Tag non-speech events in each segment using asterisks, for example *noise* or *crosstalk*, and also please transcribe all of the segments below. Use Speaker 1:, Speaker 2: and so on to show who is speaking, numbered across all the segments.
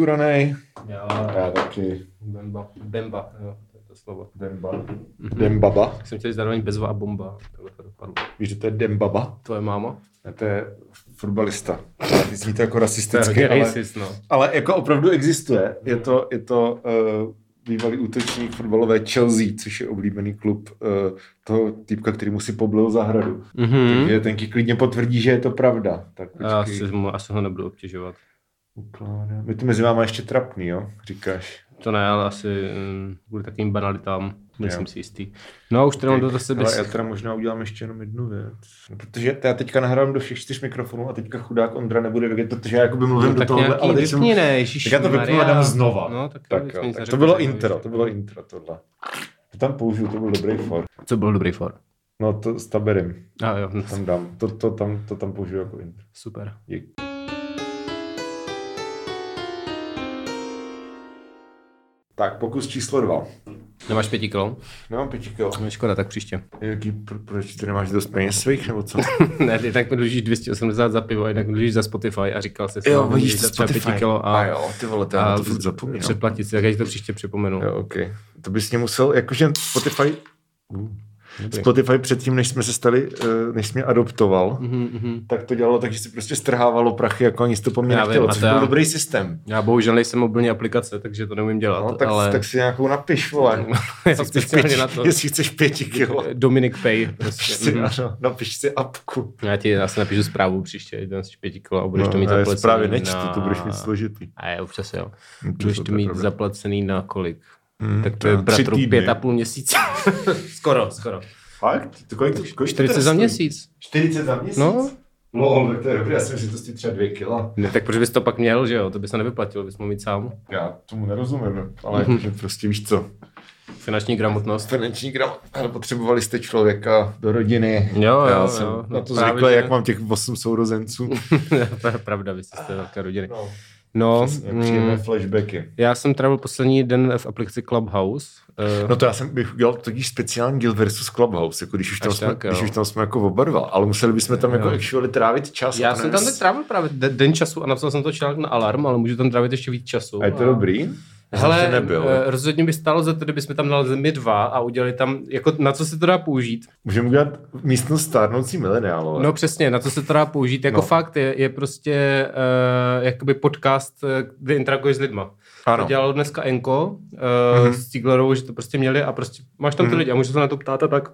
Speaker 1: Vyčuranej.
Speaker 2: Já,
Speaker 1: Já taky.
Speaker 2: Bemba. Bemba, jo, to je to slovo.
Speaker 1: Demba.
Speaker 2: Mhm.
Speaker 1: Dembaba.
Speaker 2: Jsem chtěl říct zároveň bezva a bomba. Takhle to dopadlo.
Speaker 1: Víš, že to je Dembaba?
Speaker 2: Tvoje máma?
Speaker 1: Ne, To je fotbalista. Zní to jako
Speaker 2: To je
Speaker 1: rasisticky,
Speaker 2: hodně
Speaker 1: ale,
Speaker 2: racist, no.
Speaker 1: ale jako opravdu existuje. Je to, je to uh, bývalý útočník fotbalové Chelsea, což je oblíbený klub uh, toho týpka, který mu si poblil zahradu. Hmm?
Speaker 2: Mhm.
Speaker 1: Takže tenky klidně potvrdí, že je to pravda. Tak
Speaker 2: Já
Speaker 1: počkej.
Speaker 2: si, mu- asi ho nebudu obtěžovat.
Speaker 1: Ukládám. My to mezi váma ještě trapný, jo? Říkáš.
Speaker 2: To ne, ale asi um, kvůli takovým banalitám. Nejsem
Speaker 1: Jo.
Speaker 2: si jistý. No a už tady mám do sebe. No,
Speaker 1: Ale já teda možná udělám ještě jenom jednu věc. No, protože já teďka nahrávám do všech čtyř mikrofonů a teďka chudák Ondra nebude vědět, protože já jakoby mluvím
Speaker 2: No,
Speaker 1: do
Speaker 2: tak
Speaker 1: tohohle, ale
Speaker 2: nějaký
Speaker 1: teď jsem...
Speaker 2: vypni, ne, ježiš,
Speaker 1: Tak já to vypnu a dám znova.
Speaker 2: No, tak,
Speaker 1: Tak,
Speaker 2: abys
Speaker 1: jo,
Speaker 2: mi
Speaker 1: tak to
Speaker 2: neřekl,
Speaker 1: bylo
Speaker 2: že
Speaker 1: intro,
Speaker 2: víš.
Speaker 1: to bylo intro tohle. To tam použiju, to byl dobrý for.
Speaker 2: Co byl dobrý for?
Speaker 1: No to s taberem,
Speaker 2: A jo, no,
Speaker 1: tam dám, to, to, tam, to tam použiju jako intro.
Speaker 2: super.
Speaker 1: Dík. Tak, pokus číslo dva.
Speaker 2: Nemáš pěti kilo?
Speaker 1: Nemám pěti kilo.
Speaker 2: No, Škoda, tak příště.
Speaker 1: Jaký, pro, proč ty nemáš dost peněz svých, nebo co?
Speaker 2: *laughs* ne, ty tak mi dlužíš 280 za pivo, jinak dlužíš za Spotify a říkal jsi, že za No, třeba pěti kilo a,
Speaker 1: a jo, ty vole, to já to furt zapomněl.
Speaker 2: Přeplatit si, tak já ti to příště připomenu.
Speaker 1: Jo, OK. To bys mě musel, jakože Spotify... Uh, Spotify předtím, než jsme se stali, eh, než jsi mě adoptoval,
Speaker 2: Mhm,
Speaker 1: tak to dělalo tak, že si prostě strhávalo prachy, jako ani to po mně
Speaker 2: Já
Speaker 1: nechtělo,
Speaker 2: vím, a
Speaker 1: což
Speaker 2: to
Speaker 1: byl
Speaker 2: já-
Speaker 1: dobrý systém.
Speaker 2: Já bohužel nejsem mobilní aplikace, takže to neumím dělat,
Speaker 1: No, tak,
Speaker 2: ale
Speaker 1: tak si nějakou napiš, vole.
Speaker 2: *laughs* Já
Speaker 1: Jestli chceš
Speaker 2: speciálně
Speaker 1: pěti-
Speaker 2: na to.
Speaker 1: Jestli chceš pěti kilo,
Speaker 2: Dominic
Speaker 1: *laughs*
Speaker 2: Pay. Prostě.
Speaker 1: si,
Speaker 2: mhm.
Speaker 1: ano, napiš si apku.
Speaker 2: Já ti asi napíšu zprávu příště, jdem si pěti kilo a budeš to mít
Speaker 1: No, já je
Speaker 2: zaplacený
Speaker 1: Zprávě nečtu,
Speaker 2: na...
Speaker 1: to budeš mít složitý.
Speaker 2: A je, občas jo.
Speaker 1: No, to
Speaker 2: Budeš
Speaker 1: jsou
Speaker 2: to
Speaker 1: to
Speaker 2: mít
Speaker 1: problém.
Speaker 2: zaplacený na kolik?
Speaker 1: Mm,
Speaker 2: Tak to je
Speaker 1: tři
Speaker 2: bratru
Speaker 1: týdny.
Speaker 2: pět a půl měsíce. *laughs* skoro, skoro.
Speaker 1: Fakt? To kolik, to- kolik to
Speaker 2: 40
Speaker 1: teda
Speaker 2: za
Speaker 1: stojí?
Speaker 2: měsíc.
Speaker 1: 40 za měsíc?
Speaker 2: No.
Speaker 1: No, tak to je dobré, já jsem si to stojí třeba 2 kila.
Speaker 2: Ne, tak proč bys to pak měl, že jo? To by se nevyplatilo, bys mohl mít sám.
Speaker 1: Já tomu nerozumím, ale
Speaker 2: Mhm.
Speaker 1: jakože prostě víš co.
Speaker 2: Finanční gramotnost. *laughs*
Speaker 1: Finanční gramot, ale potřebovali jste člověka do rodiny.
Speaker 2: Jo, jo,
Speaker 1: já
Speaker 2: jo,
Speaker 1: jsem
Speaker 2: no
Speaker 1: na to
Speaker 2: právě,
Speaker 1: zvyklý,
Speaker 2: že-
Speaker 1: jak mám těch 8 sourozenců.
Speaker 2: to je pravda, vy jste z té velké rodiny.
Speaker 1: No,
Speaker 2: *laughs* No,
Speaker 1: příjemné
Speaker 2: mm,
Speaker 1: flashbacky.
Speaker 2: já jsem trávil poslední den v aplikaci Clubhouse. Eh,
Speaker 1: No to já jsem bych udělal totiž speciální Guild versus Clubhouse, jako když už tam,
Speaker 2: Až
Speaker 1: jsme,
Speaker 2: tak, jo.
Speaker 1: když už tam jsme jako oba dva, ale museli bychom tam jako
Speaker 2: Jo.
Speaker 1: actually trávit čas. a
Speaker 2: já
Speaker 1: to
Speaker 2: jsem
Speaker 1: nevím,
Speaker 2: tam teď
Speaker 1: s-
Speaker 2: trávil právě de- den času a napsal jsem to článek na alarm, ale můžu tam trávit ještě víc času.
Speaker 1: A je to dobrý? Já jsem
Speaker 2: Hele,
Speaker 1: to nebyl.
Speaker 2: eh, rozhodně by stálo za to, kdybychom tam dali my dva a udělali tam, jako na co se to dá použít.
Speaker 1: Můžeme udělat místnost stárnoucí mileniálové.
Speaker 2: No přesně, na co se to dá použít. Jako
Speaker 1: No.
Speaker 2: no. fakt je, je prostě uh, jakoby podcast, eh, kde interaguješ s lidma.
Speaker 1: Ano. Mhm.
Speaker 2: To dělalo dneska Enko uh, mm-hmm. s Ciglerovou, že to prostě měli a prostě máš tam ty lidi a můžeš se na to ptát a tak.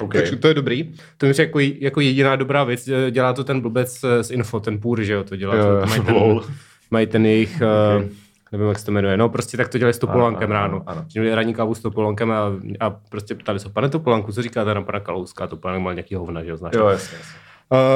Speaker 1: Ok.
Speaker 2: Takže to je dobrý. To mi přijde jako, jako jediná dobrá věc. eh, Dělá to ten blbec eh, z Info, ten půr, že jo, to dělá.
Speaker 1: Jo,
Speaker 2: to,
Speaker 1: jo,
Speaker 2: to mají,
Speaker 1: lol.
Speaker 2: ten, mají ten jejich, okay. nevím, jak se to jmenuje, no prostě tak to dělali s Topolankem
Speaker 1: Ano, ano,
Speaker 2: ráno.
Speaker 1: ano.
Speaker 2: Že měli ranní kávu s Topolankem a, a prostě ptali se, pane Topolanku, co říkáte na pana Kalouska? Topolánek mal nějaký hovna, že jo, znáš.
Speaker 1: Jo, jasně. jasně.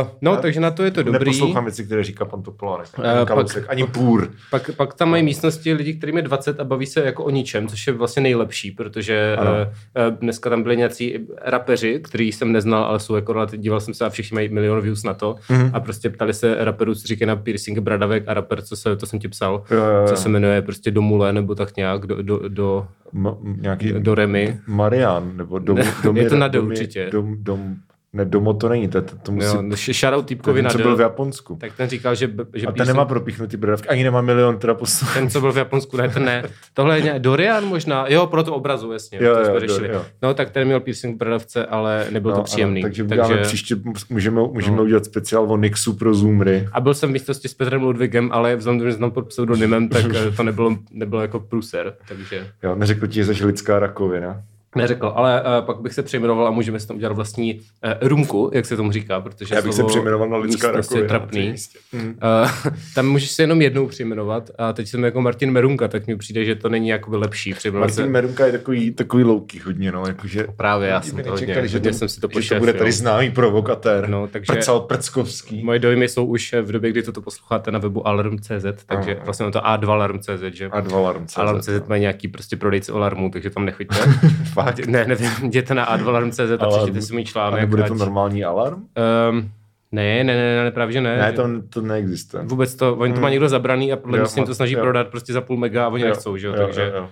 Speaker 2: Uh, no, takže na to je to dobrý.
Speaker 1: Neposlouchám věci, které říká pan Topolánek,
Speaker 2: Eh,
Speaker 1: ani Kalousek,
Speaker 2: pak-
Speaker 1: ani Půr.
Speaker 2: Pak, pak tam mají místnosti lidí, kterým je 20 a baví se jako o ničem, což je vlastně nejlepší, protože
Speaker 1: Ano.
Speaker 2: uh, uh, dneska tam byli nějací rapeři, který jsem neznal, ale jsou jako relativně, díval jsem se a všichni mají milion views na to
Speaker 1: Mhm.
Speaker 2: mm. a prostě ptali se raperů, co říkají na piercing bradavek a raper, co se, to jsem ti psal,
Speaker 1: Jo, jo, jo.
Speaker 2: co se jmenuje prostě Domule nebo tak nějak do, do, do,
Speaker 1: M- nějaký
Speaker 2: do Remy.
Speaker 1: Marian, nebo dom, dom,
Speaker 2: je to na D
Speaker 1: dom,
Speaker 2: určitě.
Speaker 1: Dom, dom, ne, domo to není, to, to, to musí...
Speaker 2: Jo, no,
Speaker 1: Jo,
Speaker 2: š- shoutout týpkovi na
Speaker 1: co
Speaker 2: D.
Speaker 1: byl v Japonsku.
Speaker 2: Tak ten říkal, že, že
Speaker 1: a ten
Speaker 2: piercing-
Speaker 1: nemá propíchnutý bradavky, ani nemá milion teda poslouchů.
Speaker 2: Ten, co byl v Japonsku, ne, ten ne. Tohle je nějak Dorian možná, jo, pro tu obrazu, jasně,
Speaker 1: Jo,
Speaker 2: jo, to
Speaker 1: jo,
Speaker 2: jsme řešili.
Speaker 1: Dorian, jo.
Speaker 2: No, tak ten měl piercing v bradavce, ale nebyl to příjemný.
Speaker 1: No, takže, takže... příště, můžeme, můžeme no. udělat speciál o Nixu pro Zoomry.
Speaker 2: A byl jsem v místnosti s Petrem Ludvigem, ale vzhledem k tomu, že znám pod pseudonymem, tak eh, to nebylo, nebylo jako průser, takže
Speaker 1: Jo, neřekl ti, že jsi lidská rakovina.
Speaker 2: neřekl. Ale uh, pak bych se přejmenoval a můžeme si tam udělat vlastní uh, rumku, jak se tomu říká, protože
Speaker 1: Já bych se
Speaker 2: slovo
Speaker 1: přejmenoval na lidská rakovina.
Speaker 2: místnost je
Speaker 1: to je
Speaker 2: trapný.
Speaker 1: jistě.
Speaker 2: Uh, tam můžeš se jenom jednou přejmenovat a teď jsem jako Martin Merunka, tak mi přijde, že to není jakoby lepší přejmenovat No, se-
Speaker 1: Martin Merunka je takový, takový louký hodně, no, jakože...
Speaker 2: Právě, já
Speaker 1: Lidi
Speaker 2: jsem
Speaker 1: by
Speaker 2: to hodně,
Speaker 1: nečekali,
Speaker 2: hodně jsem si to
Speaker 1: že to
Speaker 2: pošel.
Speaker 1: bude tady známý provokatér.
Speaker 2: No, takže-
Speaker 1: Prcal Prckovský.
Speaker 2: Moje dojmy jsou už v době, kdy toto posloucháte na webu alarm.cz, takže
Speaker 1: Aha.
Speaker 2: vlastně je to A2 alarm.cz, že?
Speaker 1: A dva larmce.
Speaker 2: Alarm.cz mají nějaký prostě prodejce alarmů, takže tam nechoďte.
Speaker 1: *laughs* Fakt.
Speaker 2: ne, nevím, jděte na A2alarm.cz a
Speaker 1: Alarm.
Speaker 2: přečtěte si můj
Speaker 1: A
Speaker 2: článek.
Speaker 1: nebude to
Speaker 2: ať-
Speaker 1: normální alarm?
Speaker 2: Ehm, ne, ne, ne, ne, právě že ne.
Speaker 1: Ne, to, to neexistuje.
Speaker 2: Vůbec to, oni to má někdo zabraný a podle
Speaker 1: Jo,
Speaker 2: mě se jim to snaží
Speaker 1: jo.
Speaker 2: prodat prostě za půl mega a oni
Speaker 1: Jo,
Speaker 2: nechcou, že jo,
Speaker 1: jo,
Speaker 2: takže,
Speaker 1: jo, jo.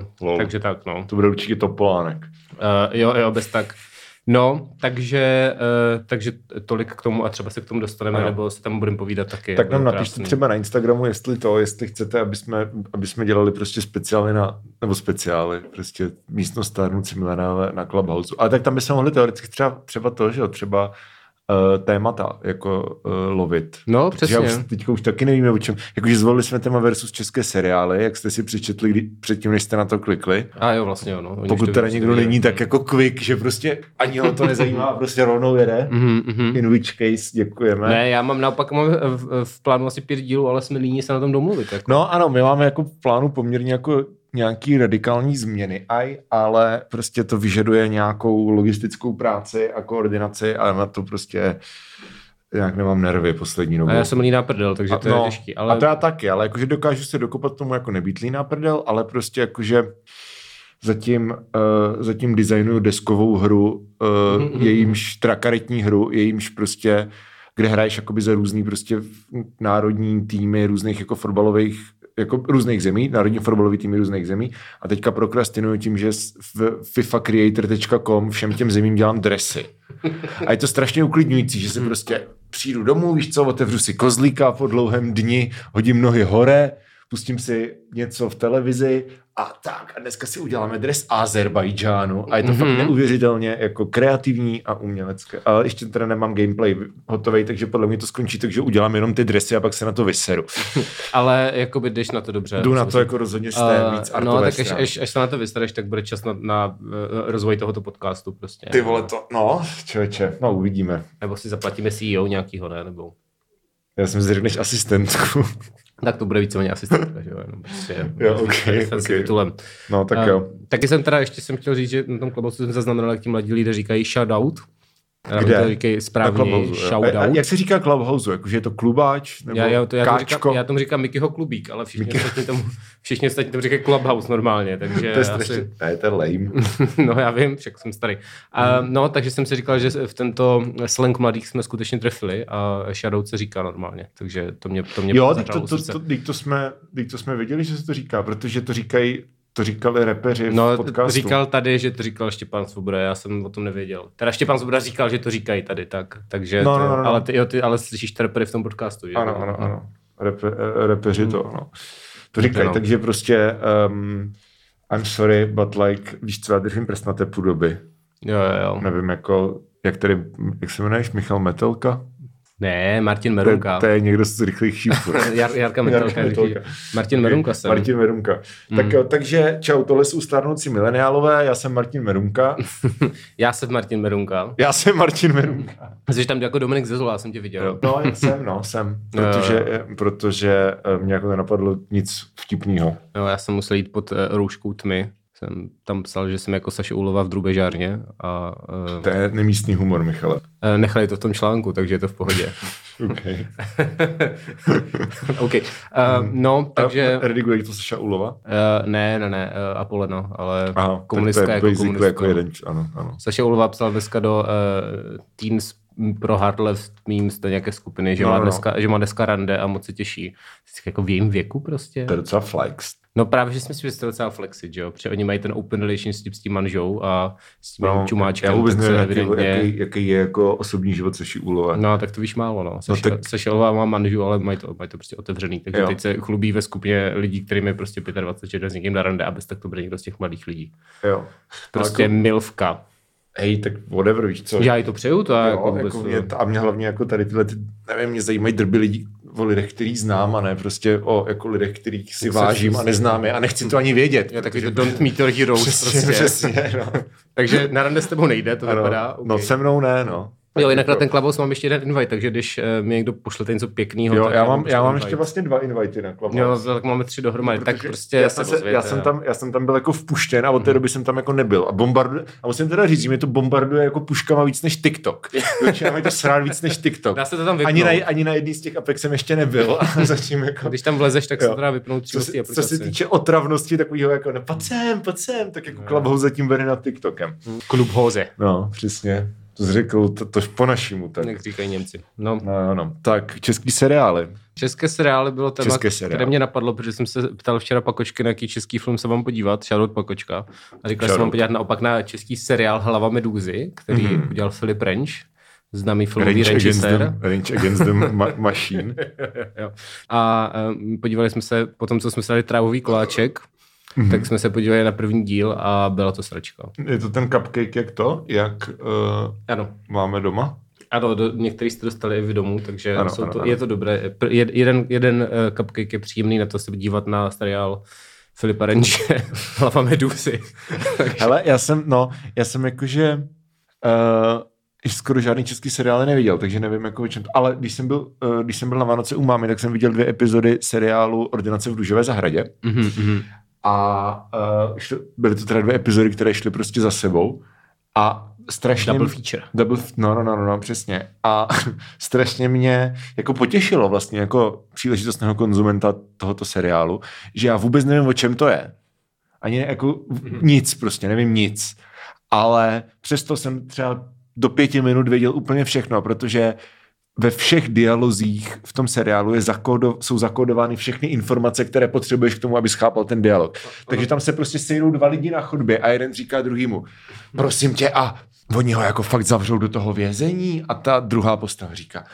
Speaker 2: ehm,
Speaker 1: Lol.
Speaker 2: takže tak, no.
Speaker 1: To bude určitě Topolánek.
Speaker 2: Eh, jo, jo, bez tak. No, takže, eh, takže tolik k tomu a třeba se k tomu dostaneme,
Speaker 1: Ano.
Speaker 2: ano. nebo se tam budeme povídat taky.
Speaker 1: Tak nám
Speaker 2: Bude
Speaker 1: napište
Speaker 2: krásný.
Speaker 1: třeba na Instagramu, jestli to, jestli chcete, aby jsme, aby jsme dělali prostě speciály na, nebo speciály, prostě místnost stárnoucí milenále na Clubhouse. Ale tak tam bychom mohli teoreticky třeba, třeba to, že jo, třeba uh, témata jako uh, lovit.
Speaker 2: No,
Speaker 1: Protože
Speaker 2: přesně.
Speaker 1: Já už teďka už taky nevíme o čem. Jakože zvolili jsme téma versus české seriály, jak jste si přečetli kdy, předtím, než jste na to klikli.
Speaker 2: A jo, vlastně jo, no. Oni už
Speaker 1: Pokud
Speaker 2: to
Speaker 1: teda
Speaker 2: víc
Speaker 1: někdo
Speaker 2: nevěděli.
Speaker 1: není tak jako quick, že prostě ani ho to nezajímá, a prostě rovnou jede.
Speaker 2: Mhm, mhm.
Speaker 1: In which case děkujeme.
Speaker 2: Ne, já mám naopak mám v, v plánu asi pět dílů, ale jsme líní se na tom domluvit. Jako.
Speaker 1: No ano, my máme jako v plánu poměrně jako nějaký radikální změny, aj, ale prostě to vyžaduje nějakou logistickou práci a koordinaci a na to prostě nějak nemám nervy poslední dobou.
Speaker 2: A já jsem líná prdel, takže to je
Speaker 1: no,
Speaker 2: těžký. Ale...
Speaker 1: A to já taky, ale jakože dokážu se dokopat tomu jako nebýt líná prdel, ale prostě jakože zatím, uh, zatím designuju deskovou hru, uh,
Speaker 2: Mhm, mhm,
Speaker 1: jejímž trakaretní hru, jejímž prostě kde hraješ jakoby za různý prostě národní týmy různých jako fotbalových jako různých zemí, národní fotbalový týmy různých zemí a teďka prokrastinuju tím, že s- v fifacreator.com všem těm zemím dělám dresy. A je to strašně uklidňující, že si
Speaker 2: Hmm.
Speaker 1: prostě přijdu domů, víš co, otevřu si kozlíka po dlouhém dni, hodím nohy hore, pustím si něco v televizi a tak. A dneska si uděláme dres Azerbajdžánu. A je to mm-hmm. fakt
Speaker 2: Mhm.
Speaker 1: neuvěřitelně jako kreativní a umělecké. Ale ještě teda nemám gameplay hotový, takže podle mě to skončí, takže udělám jenom ty dresy a pak se na to vyseru.
Speaker 2: ale jakoby jdeš na to dobře.
Speaker 1: Jdu na
Speaker 2: Co
Speaker 1: to
Speaker 2: myslím.
Speaker 1: jako rozhodně z té
Speaker 2: Eh,
Speaker 1: víc
Speaker 2: No,
Speaker 1: artové
Speaker 2: tak až,
Speaker 1: stránky.
Speaker 2: až, až, se na to vystaráš, tak bude čas na, na eh, rozvoj tohoto podcastu prostě.
Speaker 1: Ty vole to, no, člověče, no uvidíme.
Speaker 2: Nebo si zaplatíme CEO nějakýho, ne? Nebo...
Speaker 1: Já jsem si řekneš asistentku. *laughs*
Speaker 2: Tak to bude víceméně asistentka, že jo? Jenom prostě,
Speaker 1: Jo, ok,
Speaker 2: asistent s
Speaker 1: ok.
Speaker 2: titulem.
Speaker 1: No, tak
Speaker 2: A
Speaker 1: jo.
Speaker 2: Taky jsem teda, ještě jsem chtěl říct, že na tom klobousu jsem zaznamenal, jak ti mladí lidé říkají shoutout. Eh,
Speaker 1: Kde?
Speaker 2: To říkají
Speaker 1: Na
Speaker 2: správně
Speaker 1: Clubhouse, jo. A, a
Speaker 2: shoutout.
Speaker 1: jak se říká Clubhouse? Jakože je to klubáč? Nebo
Speaker 2: Já, já, to, já, tomu
Speaker 1: káčko?
Speaker 2: říkám, já tomu říkám Mikyho klubík, ale všichni ostatní tomu, všichni ostatní tomu říkají Clubhouse normálně,
Speaker 1: *laughs*
Speaker 2: takže
Speaker 1: to je strašně...
Speaker 2: asi,
Speaker 1: Ne, to je lame.
Speaker 2: *laughs* no já vím, však jsem starý. A,
Speaker 1: Hmm.
Speaker 2: no, takže jsem si říkal, že v tento slang mladých jsme skutečně trefili a Shadow se říká normálně, takže to mě, to mě
Speaker 1: Jo, teď
Speaker 2: zahrálo
Speaker 1: to, to,
Speaker 2: srdce.
Speaker 1: to, teď to, jsme, teď to jsme věděli, že se to říká, protože to říkají, to říkali repeři v
Speaker 2: No,
Speaker 1: podcastu.
Speaker 2: říkal tady, že to říkal Štěpán Svoboda, já jsem o tom nevěděl. Teda Štěpán Svoboda říkal, že to říkají tady, tak, takže
Speaker 1: No,
Speaker 2: to,
Speaker 1: no, no, no.
Speaker 2: ale, ty, jo, ty, ale slyšíš to repery v tom podcastu, že?
Speaker 1: Ano, ano, ano. Repe, eh, repeři
Speaker 2: Hmm.
Speaker 1: to, no. To říkají,
Speaker 2: Ano.
Speaker 1: takže prostě um, I'm sorry, but like, víš co, já držím prst na té půdoby.
Speaker 2: Jo, jo, jo.
Speaker 1: Nevím, jako, jak tady, jak se jmenuješ, Michal Metelka?
Speaker 2: Ne, Martin
Speaker 1: To je,
Speaker 2: Merunka.
Speaker 1: to je někdo z rychlých šípů.
Speaker 2: *laughs* Jar, Jarka Metelka.
Speaker 1: Jarka Metelka.
Speaker 2: říkají. Martin Merunka jsem. Hmm.
Speaker 1: Martin Merumka. Tak jo, takže čau, tohle jsou stárnoucí mileniálové, já jsem Martin Merumka.
Speaker 2: Já jsem Martin Merunka.
Speaker 1: Já jsem Martin Merumka.
Speaker 2: Jsi tam jako Dominik Zezola, já jsem tě viděl.
Speaker 1: No, jsem, no, jsem.
Speaker 2: *laughs*
Speaker 1: Protože, protože eh, mě jako nenapadlo nic vtipného.
Speaker 2: No, já jsem musel jít pod uh, rouškou tmy. Jsem tam psal, že jsem jako Saša Ulova v drubežárně a uh,
Speaker 1: To je nemístný humor, Michale.
Speaker 2: nechali to v tom článku, takže je to
Speaker 1: *laughs*
Speaker 2: v pohodě.
Speaker 1: Okay.
Speaker 2: OK. Uh, no, takže...
Speaker 1: Rediguje to Saša Ulova?
Speaker 2: Uh, ne, ne, ne, uh, Apoleno, ale
Speaker 1: Aha,
Speaker 2: komunistka
Speaker 1: tak to
Speaker 2: jako
Speaker 1: je basically
Speaker 2: komunistka.
Speaker 1: jako jeden, č- ano, ano.
Speaker 2: Saša Ulova psal dneska do uh, Teens pro hard left memes do nějaké skupiny, že,
Speaker 1: No,
Speaker 2: no, má
Speaker 1: no.
Speaker 2: dneska, že má dneska rande a moc se těší. Jsi Jako v jejím věku prostě.
Speaker 1: To je docela flex.
Speaker 2: No právě, že jsme si mysleli docela flexit, že jo? Protože oni mají ten open relationship s tím manžou a s tím
Speaker 1: No,
Speaker 2: no,
Speaker 1: já
Speaker 2: čumáčkem.
Speaker 1: vůbec
Speaker 2: tak se
Speaker 1: nevím, jaký,
Speaker 2: evidentně...
Speaker 1: jaký, jaký, je jako osobní život Saši Ulova.
Speaker 2: No, tak to víš málo, no. Sešel, no
Speaker 1: tak-
Speaker 2: tak... Sešelová má manžu, ale mají to, mají to prostě otevřený. Takže
Speaker 1: Jo.
Speaker 2: jo. teď se chlubí ve skupině lidí, kterým je prostě 25, že jde s někým na rande a bez tak to bude někdo z těch mladých lidí.
Speaker 1: Jo.
Speaker 2: Prostě
Speaker 1: No, Jako,
Speaker 2: milvka.
Speaker 1: hej, tak whatever, víš co?
Speaker 2: Já jí to přeju, to já
Speaker 1: Jo,
Speaker 2: jako,
Speaker 1: jako
Speaker 2: vůbec,
Speaker 1: mě, a mě hlavně jako tady tyhle, ty, nevím, mě zajímají drby lidí o lidech, který znám a ne prostě o jako lidech, kterých si
Speaker 2: Tak se-
Speaker 1: vážím a neznám je a nechci to ani vědět.
Speaker 2: Já takový
Speaker 1: protože-
Speaker 2: to don't meet your heroes
Speaker 1: Přesně,
Speaker 2: prostě.
Speaker 1: přesně, no.
Speaker 2: Takže na rande s tebou nejde, to
Speaker 1: Ano.
Speaker 2: vypadá. Okay.
Speaker 1: No se mnou ne, no.
Speaker 2: Jo, jinak
Speaker 1: jako-
Speaker 2: na ten klavos mám ještě jeden invite, takže když eh, mi někdo pošlete něco pěkného.
Speaker 1: Jo,
Speaker 2: No, tak
Speaker 1: já
Speaker 2: mu
Speaker 1: mám,
Speaker 2: pošlu
Speaker 1: já mám
Speaker 2: invite.
Speaker 1: ještě vlastně dva invity na Clubhouse.
Speaker 2: Jo, tak máme tři dohromady, tak
Speaker 1: Protože
Speaker 2: prostě
Speaker 1: já jsem,
Speaker 2: se Mhm.
Speaker 1: se, já,
Speaker 2: ozvěte.
Speaker 1: jsem tam, já jsem tam byl jako vpuštěn a od té doby jsem tam jako nebyl. A bombarduje, a musím teda říct, že mě to bombarduje jako puškama víc než
Speaker 2: *laughs*
Speaker 1: TikTok. Začíná mi to srát víc než TikTok.
Speaker 2: Dá se to tam
Speaker 1: Ani
Speaker 2: vypnout.
Speaker 1: na, ani na jedný z těch apek jsem ještě nebyl a *laughs* začím jako...
Speaker 2: Když tam vlezeš, tak
Speaker 1: Jo.
Speaker 2: se to dá vypnout
Speaker 1: Co
Speaker 2: přímo z té
Speaker 1: se, co se
Speaker 2: aplikace.
Speaker 1: týče otravnosti takového jako ne, pojď sem, pojď sem, tak jako Clubhouse zatím vede nad TikTokem.
Speaker 2: Klub hoze.
Speaker 1: No, přesně. To jsi řekl, to, to po našimu. Tak.
Speaker 2: jak říkají Němci. No.
Speaker 1: No, jo, no. Tak, český seriály.
Speaker 2: České seriály bylo téma,
Speaker 1: České
Speaker 2: české
Speaker 1: seriály.
Speaker 2: seriály. které mě napadlo, protože jsem se ptal včera Pakočky, na jaký český film se mám podívat, Charlotte Pakočka. A říkal jsem
Speaker 1: Shoutout.
Speaker 2: mám podívat naopak na český seriál Hlava Medúzy, který
Speaker 1: Mhm.
Speaker 2: mm-hmm. udělal Filip Renč, známý filmový
Speaker 1: Range against,
Speaker 2: režisér.
Speaker 1: them, range against the ma- Machine.
Speaker 2: Jo. A um, podívali jsme se, po tom, co jsme si dali trávový koláček,
Speaker 1: Mhm.
Speaker 2: mm-hmm. tak jsme se podívali na první díl a byla to sračka.
Speaker 1: Je to ten cupcake, jak to? Jak uh,
Speaker 2: Ano,
Speaker 1: máme doma?
Speaker 2: ano do, některý jste dostali i vy domů, takže
Speaker 1: Ano,
Speaker 2: ano, jsou
Speaker 1: ano,
Speaker 2: ano, to,
Speaker 1: ano.
Speaker 2: je to dobré. Pr- jed- jeden, jeden eh, cupcake je příjemný na to se dívat na seriál Filipa *laughs* Renče, Hlava Medusy.
Speaker 1: Hele, já jsem, no, já jsem jakože uh, skoro žádný český seriál neviděl, takže nevím, jako o čem to, ale když jsem, byl, uh, když jsem byl na Vánoce u mámy, tak jsem viděl dvě epizody seriálu Ordinace v Dužové zahradě
Speaker 2: *laughs* Mhm, mhm.
Speaker 1: a uh, šli, byly to teda dvě epizody, které šly prostě za sebou a strašně...
Speaker 2: Double feature.
Speaker 1: Double, f- no, no, no, no, no, přesně. A *laughs* strašně mě jako potěšilo vlastně jako příležitostného konzumenta tohoto seriálu, že já vůbec nevím, o čem to je. Ani jako v- nic prostě, nevím nic. Ale přesto jsem třeba do pěti minut věděl úplně všechno, protože ve všech dialozích v tom seriálu je zakodo, jsou zakódovány všechny informace, které potřebuješ k tomu, aby schápal ten dialog. Takže tam se prostě sejdou dva lidi na chodbě a jeden říká druhému, prosím tě, a oni ho jako fakt zavřou do toho vězení a ta druhá postava říká,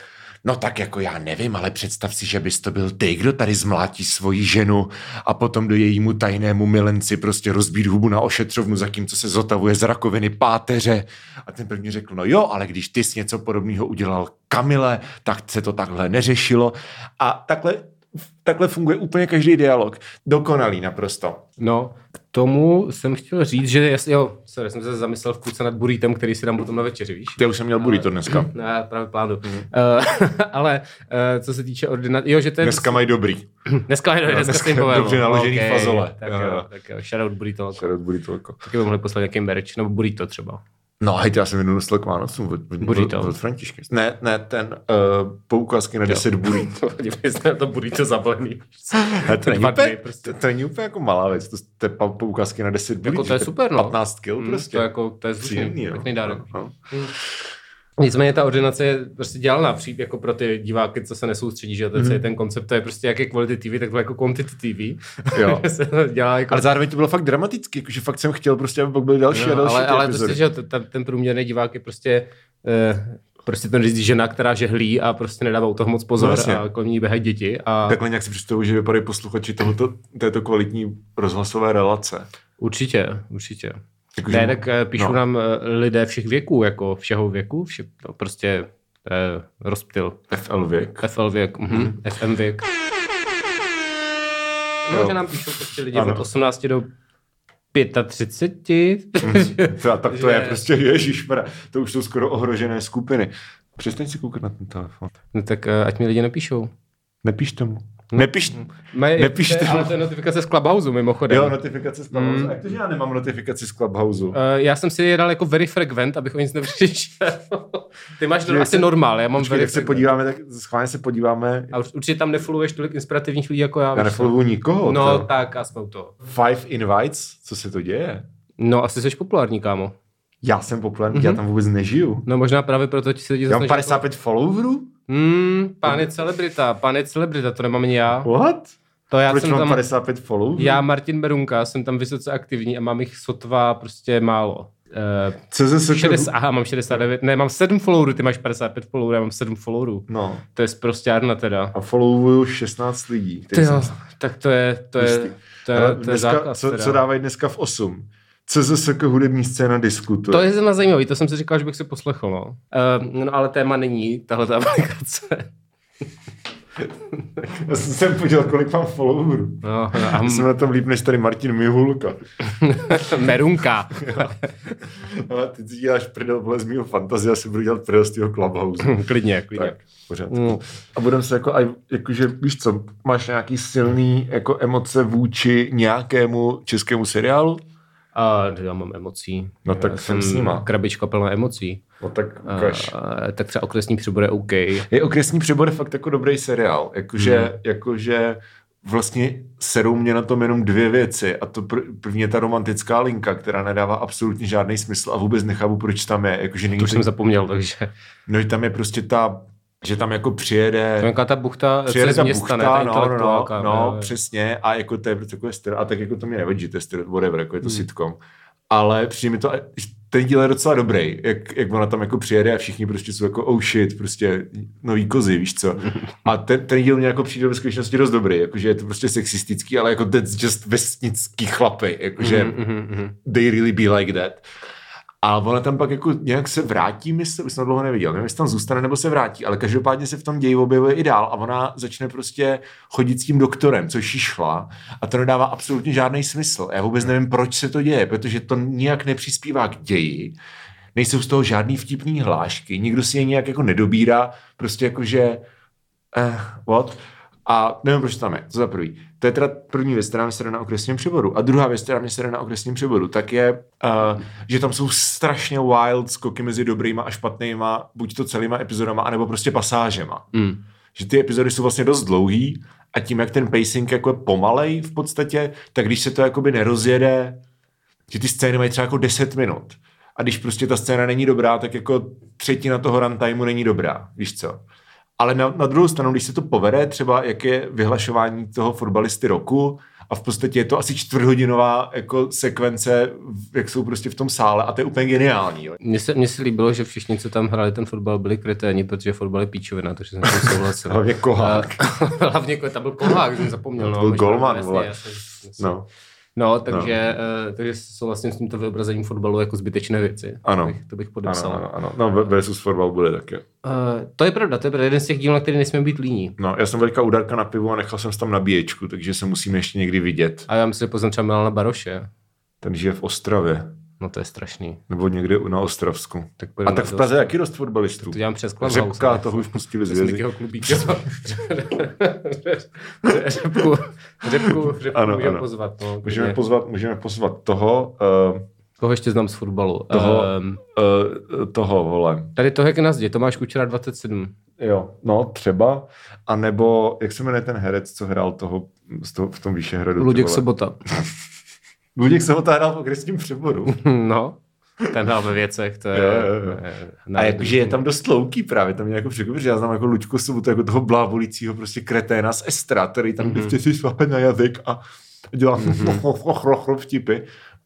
Speaker 1: No tak jako já nevím, ale představ si, že bys to byl ty, kdo tady zmlátí svoji ženu a potom do jejímu tajnému milenci prostě rozbít hubu na ošetřovnu, zatímco se zotavuje z rakoviny páteře. A ten první řekl, no jo, ale když ty jsi něco podobného udělal Kamile, tak se to takhle neřešilo. A takhle, takhle funguje úplně každý dialog. Dokonalý naprosto.
Speaker 2: No, k tomu jsem chtěl říct, že jas, jo, sorry, jsem se zamyslel v kůce nad burítem, který si dám potom na večeři, víš?
Speaker 1: Já už jsem měl burrito dneska.
Speaker 2: No, já právě plánu. Mm. *laughs* ale eh, co se týče ordinace, jo, že to je...
Speaker 1: Dneska mají dobrý.
Speaker 2: Dneska, dneska,
Speaker 1: dneska
Speaker 2: dneska se jim povedlo.
Speaker 1: dobře naložený
Speaker 2: Ok,
Speaker 1: fazole.
Speaker 2: Tak
Speaker 1: Jo,
Speaker 2: jo,
Speaker 1: jo.
Speaker 2: tak jo, shoutout burrito. jako.
Speaker 1: burrito.
Speaker 2: Taky by mohli poslat nějaký merch, nebo burrito třeba.
Speaker 1: No, hejte, já jsem jednou dostal k Vánocům od, od,
Speaker 2: Burrito.
Speaker 1: od Františky. Ne, ne, ten uh, poukázky na 10 burít.
Speaker 2: *laughs* Podívej se na to burrito zabalený.
Speaker 1: *laughs* Ale to, není
Speaker 2: Dva dny
Speaker 1: úplně,
Speaker 2: prostě.
Speaker 1: to, to není úplně jako malá věc, to, to je pa- poukázky na 10 burít.
Speaker 2: to je super, no.
Speaker 1: 15 kill
Speaker 2: Mm,
Speaker 1: prostě.
Speaker 2: to je jako, to je
Speaker 1: Příjemný,
Speaker 2: zvučný,
Speaker 1: no.
Speaker 2: pěkný dárek. Mm.
Speaker 1: No.
Speaker 2: Nicméně ta ordinace je prostě dělaná přijít jako pro ty diváky, co se nesoustředí, že to
Speaker 1: Mhm.
Speaker 2: je celý ten koncept, to je prostě jak je quality TV, tak to je jako quantity TV.
Speaker 1: Jo.
Speaker 2: *laughs* se to dělá jako
Speaker 1: Ale zároveň to bylo fakt dramatický, jakože fakt jsem chtěl prostě, aby pak byly další a
Speaker 2: No,
Speaker 1: další
Speaker 2: ale,
Speaker 1: ty
Speaker 2: ale
Speaker 1: epizody.
Speaker 2: prostě, že t- ten, ten průměrný divák je prostě, eh, prostě ten říct žena, která žehlí a prostě nedává u toho moc
Speaker 1: No,
Speaker 2: pozor
Speaker 1: jasně.
Speaker 2: no, a kolem ní běhají děti. A tak.
Speaker 1: Takhle Jako nějak si představuji, že vypadají posluchači tohoto, této kvalitní rozhlasové relace.
Speaker 2: Určitě, určitě.
Speaker 1: Jakože-
Speaker 2: Ne, tak eh, píšou
Speaker 1: no.
Speaker 2: no. nám eh, lidé všech věků, jako všeho věku, vše, no, prostě eh, rozptyl.
Speaker 1: FL věk.
Speaker 2: FL věk, mhm, FM věk.
Speaker 1: Jo.
Speaker 2: No, že nám píšou prostě lidi
Speaker 1: Ano.
Speaker 2: od 18 do 35.
Speaker 1: *laughs*
Speaker 2: Mm.
Speaker 1: Teda, tak Mhm. to je
Speaker 2: Že-
Speaker 1: prostě, ježišmra, to už jsou skoro ohrožené skupiny. Přestaň si koukat na ten telefon.
Speaker 2: no, tak eh, ať mi lidi nepíšou.
Speaker 1: Nepíš tomu. Nepíš.
Speaker 2: Mm. Mají,
Speaker 1: Nepíšte
Speaker 2: Nepíšte. Ale
Speaker 1: mu.
Speaker 2: to je notifikace z Clubhouse, mimochodem.
Speaker 1: Jo,
Speaker 2: Jo, no.
Speaker 1: notifikace z Clubhouse. Mm. Jak to, že já nemám notifikaci z Clubhouse? Uh,
Speaker 2: Uh, já jsem si je dal jako very frequent, abych o nic nepřišel. *laughs* Ty máš
Speaker 1: Že
Speaker 2: no, asi
Speaker 1: se-
Speaker 2: normál, já mám
Speaker 1: Počkej,
Speaker 2: very
Speaker 1: jak se
Speaker 2: frequent.
Speaker 1: podíváme, tak schválně se podíváme.
Speaker 2: A už- určitě tam nefluješ tolik inspirativních lidí jako já.
Speaker 1: Já
Speaker 2: víš co?
Speaker 1: nefollowu nikoho.
Speaker 2: no,
Speaker 1: to.
Speaker 2: tak a jsme u toho.
Speaker 1: Five invites, co se to děje?
Speaker 2: No, asi jsi populární, kámo.
Speaker 1: Já jsem populární,
Speaker 2: Mhm.
Speaker 1: mm-hmm. já tam vůbec nežiju.
Speaker 2: No možná právě proto ti se lidi
Speaker 1: Já mám
Speaker 2: zasnaží
Speaker 1: 55 followerů?
Speaker 2: Jako... Hmm, pán je celebrita, pán je celebrita, to nemám ani já.
Speaker 1: What?
Speaker 2: To já
Speaker 1: Proč
Speaker 2: jsem
Speaker 1: mám
Speaker 2: tam,
Speaker 1: 55 followerů?
Speaker 2: já Martin Berunka, jsem tam vysoce aktivní a mám jich sotva prostě málo. Eh,
Speaker 1: Co se se
Speaker 2: 60, aha, mám 69, ne, mám 7 followerů, ty máš 55 followerů, já mám 7 followerů.
Speaker 1: No,
Speaker 2: To je sprostárna teda.
Speaker 1: a followuju 16 lidí.
Speaker 2: Ty
Speaker 1: kterých
Speaker 2: jo,
Speaker 1: jsem-
Speaker 2: tak to je, to je,
Speaker 1: Jistý.
Speaker 2: to je, to
Speaker 1: Ale
Speaker 2: je,
Speaker 1: dneska,
Speaker 2: zákaz
Speaker 1: co,
Speaker 2: teda.
Speaker 1: co dávají dneska v 8? CZSK hudební scéna diskutuje.
Speaker 2: To je zrovna zajímavý, to jsem si říkal, že bych si poslechl, no. Uh, no ale téma není tahle ta aplikace.
Speaker 1: Já jsem se podíval, kolik mám followerů.
Speaker 2: No, no, a
Speaker 1: Já jsem
Speaker 2: m-
Speaker 1: na tom líp než tady Martin Mihulka.
Speaker 2: merunka.
Speaker 1: *laughs* Ale ty si děláš prdel vole z mýho fantazie, já si budu dělat prdel z tého Clubhouse.
Speaker 2: *laughs* klidně, klidně.
Speaker 1: tak, pořád.
Speaker 2: Mm.
Speaker 1: A budem se jako, aj, jakože, víš co, máš nějaký silný jako emoce vůči nějakému českému seriálu?
Speaker 2: A já mám emocí.
Speaker 1: No tak
Speaker 2: Já
Speaker 1: jsem s nima.
Speaker 2: krabička plná emocí.
Speaker 1: No tak
Speaker 2: A,
Speaker 1: ukaž.
Speaker 2: a, tak třeba okresní příbor je OK. Hmm.
Speaker 1: Je okresní přebor fakt jako dobrý seriál. Jakože, jakože vlastně serou mě na tom jenom dvě věci. A to pr- první je ta romantická linka, která nedává absolutně žádný smysl a vůbec nechápu, proč tam je. Jakože není
Speaker 2: To už
Speaker 1: to-
Speaker 2: jsem zapomněl, takže.
Speaker 1: No, že tam je prostě ta, že tam jako přijede...
Speaker 2: To je nějaká ta buchta
Speaker 1: přijede
Speaker 2: přes
Speaker 1: ta
Speaker 2: města,
Speaker 1: buchta,
Speaker 2: ne?
Speaker 1: no,
Speaker 2: Ta
Speaker 1: no, no,
Speaker 2: intelektuálka,
Speaker 1: no,
Speaker 2: ne?
Speaker 1: přesně, a jako to je takové styl, a tak jako to mě nevadí, že to je styl, whatever, jako je
Speaker 2: Hmm.
Speaker 1: to sitcom, ale přijde mi to, ten díl je docela dobrý, jak, jak ona tam jako přijede a všichni prostě jsou jako oh shit, prostě nový kozy, víš co. A ten, ten díl mě jako přijde ve skutečnosti dost dobrý, jakože je to prostě sexistický, ale jako that's just vesnický chlapy, jakože
Speaker 2: Mhm, mhm, mhm.
Speaker 1: they really be like that. A ona tam pak jako nějak se vrátí, myslím, už jsem to dlouho neviděl, nevím, jestli tam zůstane nebo se vrátí, ale každopádně se v tom ději objevuje i dál a ona začne prostě chodit s tím doktorem, což jí šla a to nedává absolutně žádný smysl. Já vůbec nevím, proč se to děje, protože to nijak nepřispívá k ději, nejsou z toho žádný vtipný hlášky, nikdo si je nějak jako nedobírá, prostě jako, že eh, what? A nevím, proč to tam je, to za prvý. To je teda první věc, která mě sere na okresním přeboru. A druhá věc, která mě sere na okresním přeboru, tak je, uh, že tam jsou strašně wild skoky mezi dobrýma a špatnýma, buď to celýma epizodama, anebo prostě pasážema.
Speaker 2: Mm.
Speaker 1: Že ty epizody jsou vlastně dost dlouhý a tím, jak ten pacing jako je pomalej v podstatě, tak když se to jakoby nerozjede, že ty scény mají třeba jako 10 minut. A když prostě ta scéna není dobrá, tak jako třetina toho runtimeu není dobrá, víš co. Ale na, na druhou stranu, když se to povede, třeba jak je vyhlašování toho fotbalisty roku, a v podstatě je to asi čtvrthodinová jako sekvence, v- jak jsou prostě v tom sále, a to je úplně geniální. Jo.
Speaker 2: Mně se, mně se líbilo, že všichni, co tam hráli ten fotbal, byli kreténi, protože fotbal je píčovina, takže jsem s tím
Speaker 1: *laughs*
Speaker 2: souhlasil.
Speaker 1: Hlavně Kohák.
Speaker 2: A- *laughs* hlavně ko- tam byl kohák, jsem zapomněl.
Speaker 1: To byl
Speaker 2: možná,
Speaker 1: golman,
Speaker 2: jasně,
Speaker 1: vole.
Speaker 2: jasně, jasně.
Speaker 1: No.
Speaker 2: No, takže, no. Uh, takže souhlasím s tímto vyobrazením fotbalu jako zbytečné věci.
Speaker 1: Ano.
Speaker 2: To bych, to bych podepsal.
Speaker 1: Ano, ano, ano. No, ve- versus fotbal bude také.
Speaker 2: Uh, to je pravda, to je pravda. jeden z těch dílů, na který nesmíme být líní.
Speaker 1: No, já jsem velká udarka na pivu a nechal jsem si tam nabíječku, takže se musíme ještě někdy vidět.
Speaker 2: A já myslím, že poznám třeba Milana Baroše.
Speaker 1: Ten žije v Ostravě,
Speaker 2: No to je strašný.
Speaker 1: nebo někde na Ostravsku.
Speaker 2: Tak
Speaker 1: A
Speaker 2: půjdeme
Speaker 1: tak v
Speaker 2: do-
Speaker 1: Praze jaký dost fotbalistů?
Speaker 2: To dělám přes Clubhouse.
Speaker 1: Řepka,
Speaker 2: ne?
Speaker 1: toho už pustili z
Speaker 2: Přes
Speaker 1: vězy. *laughs*
Speaker 2: Mikyho klubíka. Řepku, řepku, řepku
Speaker 1: Ano,
Speaker 2: ano,
Speaker 1: ano.
Speaker 2: můžeme ano. pozvat. No,
Speaker 1: Můžeme
Speaker 2: klidně.
Speaker 1: pozvat, můžeme pozvat toho, uh,
Speaker 2: Koho ještě znám z fotbalu?
Speaker 1: Toho-
Speaker 2: Ehm,
Speaker 1: uh, toho, vole.
Speaker 2: tady to jak na zdě, Tomáš Kučera 27.
Speaker 1: Jo, no třeba. A nebo, jak se jmenuje ten herec, co hrál toho, z toho v tom Výšehradu? ty
Speaker 2: Luděk
Speaker 1: vole?
Speaker 2: Sobota.
Speaker 1: Luděk Sobota hrál v okresním přeboru.
Speaker 2: *laughs* No, ten hrál ve věcech, to je...
Speaker 1: Jo, jo, jo.
Speaker 2: eh,
Speaker 1: A
Speaker 2: národní
Speaker 1: jakože je tam dost louký právě, tam mě jako překvapilo, že já znám jako Luďku Sobotu, jako toho blávolícího prostě kreténa z Estra, který tam
Speaker 2: Mhm.
Speaker 1: mm-hmm. prostě si šlape na jazyk a dělá *laughs* mm-hmm. vtipy.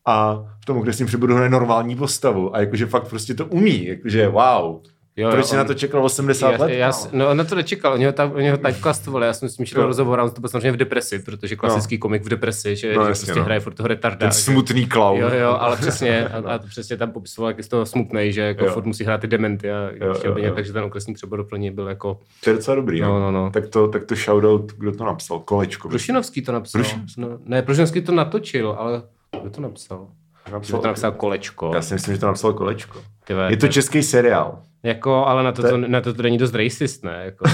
Speaker 1: A v tom okresním přeboru hraje normální postavu a jakože fakt prostě to umí, jakože wow.
Speaker 2: Jo, jo,
Speaker 1: Proč jsi na
Speaker 2: on-
Speaker 1: to čekal 80
Speaker 2: já,
Speaker 1: let?
Speaker 2: já,
Speaker 1: kámo?
Speaker 2: no, na to nečekal, on ho, ta, on ho typecast, vole, já jsem s tím šel
Speaker 1: No.
Speaker 2: rozhovor, a on to byl samozřejmě v depresi, protože klasický komik v depresi, že,
Speaker 1: No,
Speaker 2: no, že
Speaker 1: jasně,
Speaker 2: prostě
Speaker 1: no.
Speaker 2: no. hraje furt toho retarda.
Speaker 1: Ten
Speaker 2: že-
Speaker 1: smutný klaun.
Speaker 2: Jo, jo,
Speaker 1: *laughs*
Speaker 2: ale přesně, a, a přesně tam popisoval, jak je z toho smutnej, že jako
Speaker 1: Jo.
Speaker 2: furt musí hrát ty dementy a
Speaker 1: jo,
Speaker 2: chtěl by
Speaker 1: jo.
Speaker 2: nějak, takže ten okresní přebor pro něj byl jako,
Speaker 1: To je docela dobrý,
Speaker 2: no, no, no.
Speaker 1: Tak to, tak to shoutout, kdo to napsal? Kolečko.
Speaker 2: Prušinovský to napsal.
Speaker 1: Prušinovský?
Speaker 2: No, ne, Prušinovský to natočil, ale kdo to napsal? Že
Speaker 1: napsal,
Speaker 2: to napsal kolečko.
Speaker 1: Já si myslím, že to napsal kolečko.
Speaker 2: Ty vole,
Speaker 1: Je to český seriál.
Speaker 2: Jako, ale na to,
Speaker 1: To je-
Speaker 2: to, na to, to není dost racist, ne?
Speaker 1: *laughs*
Speaker 2: Jako,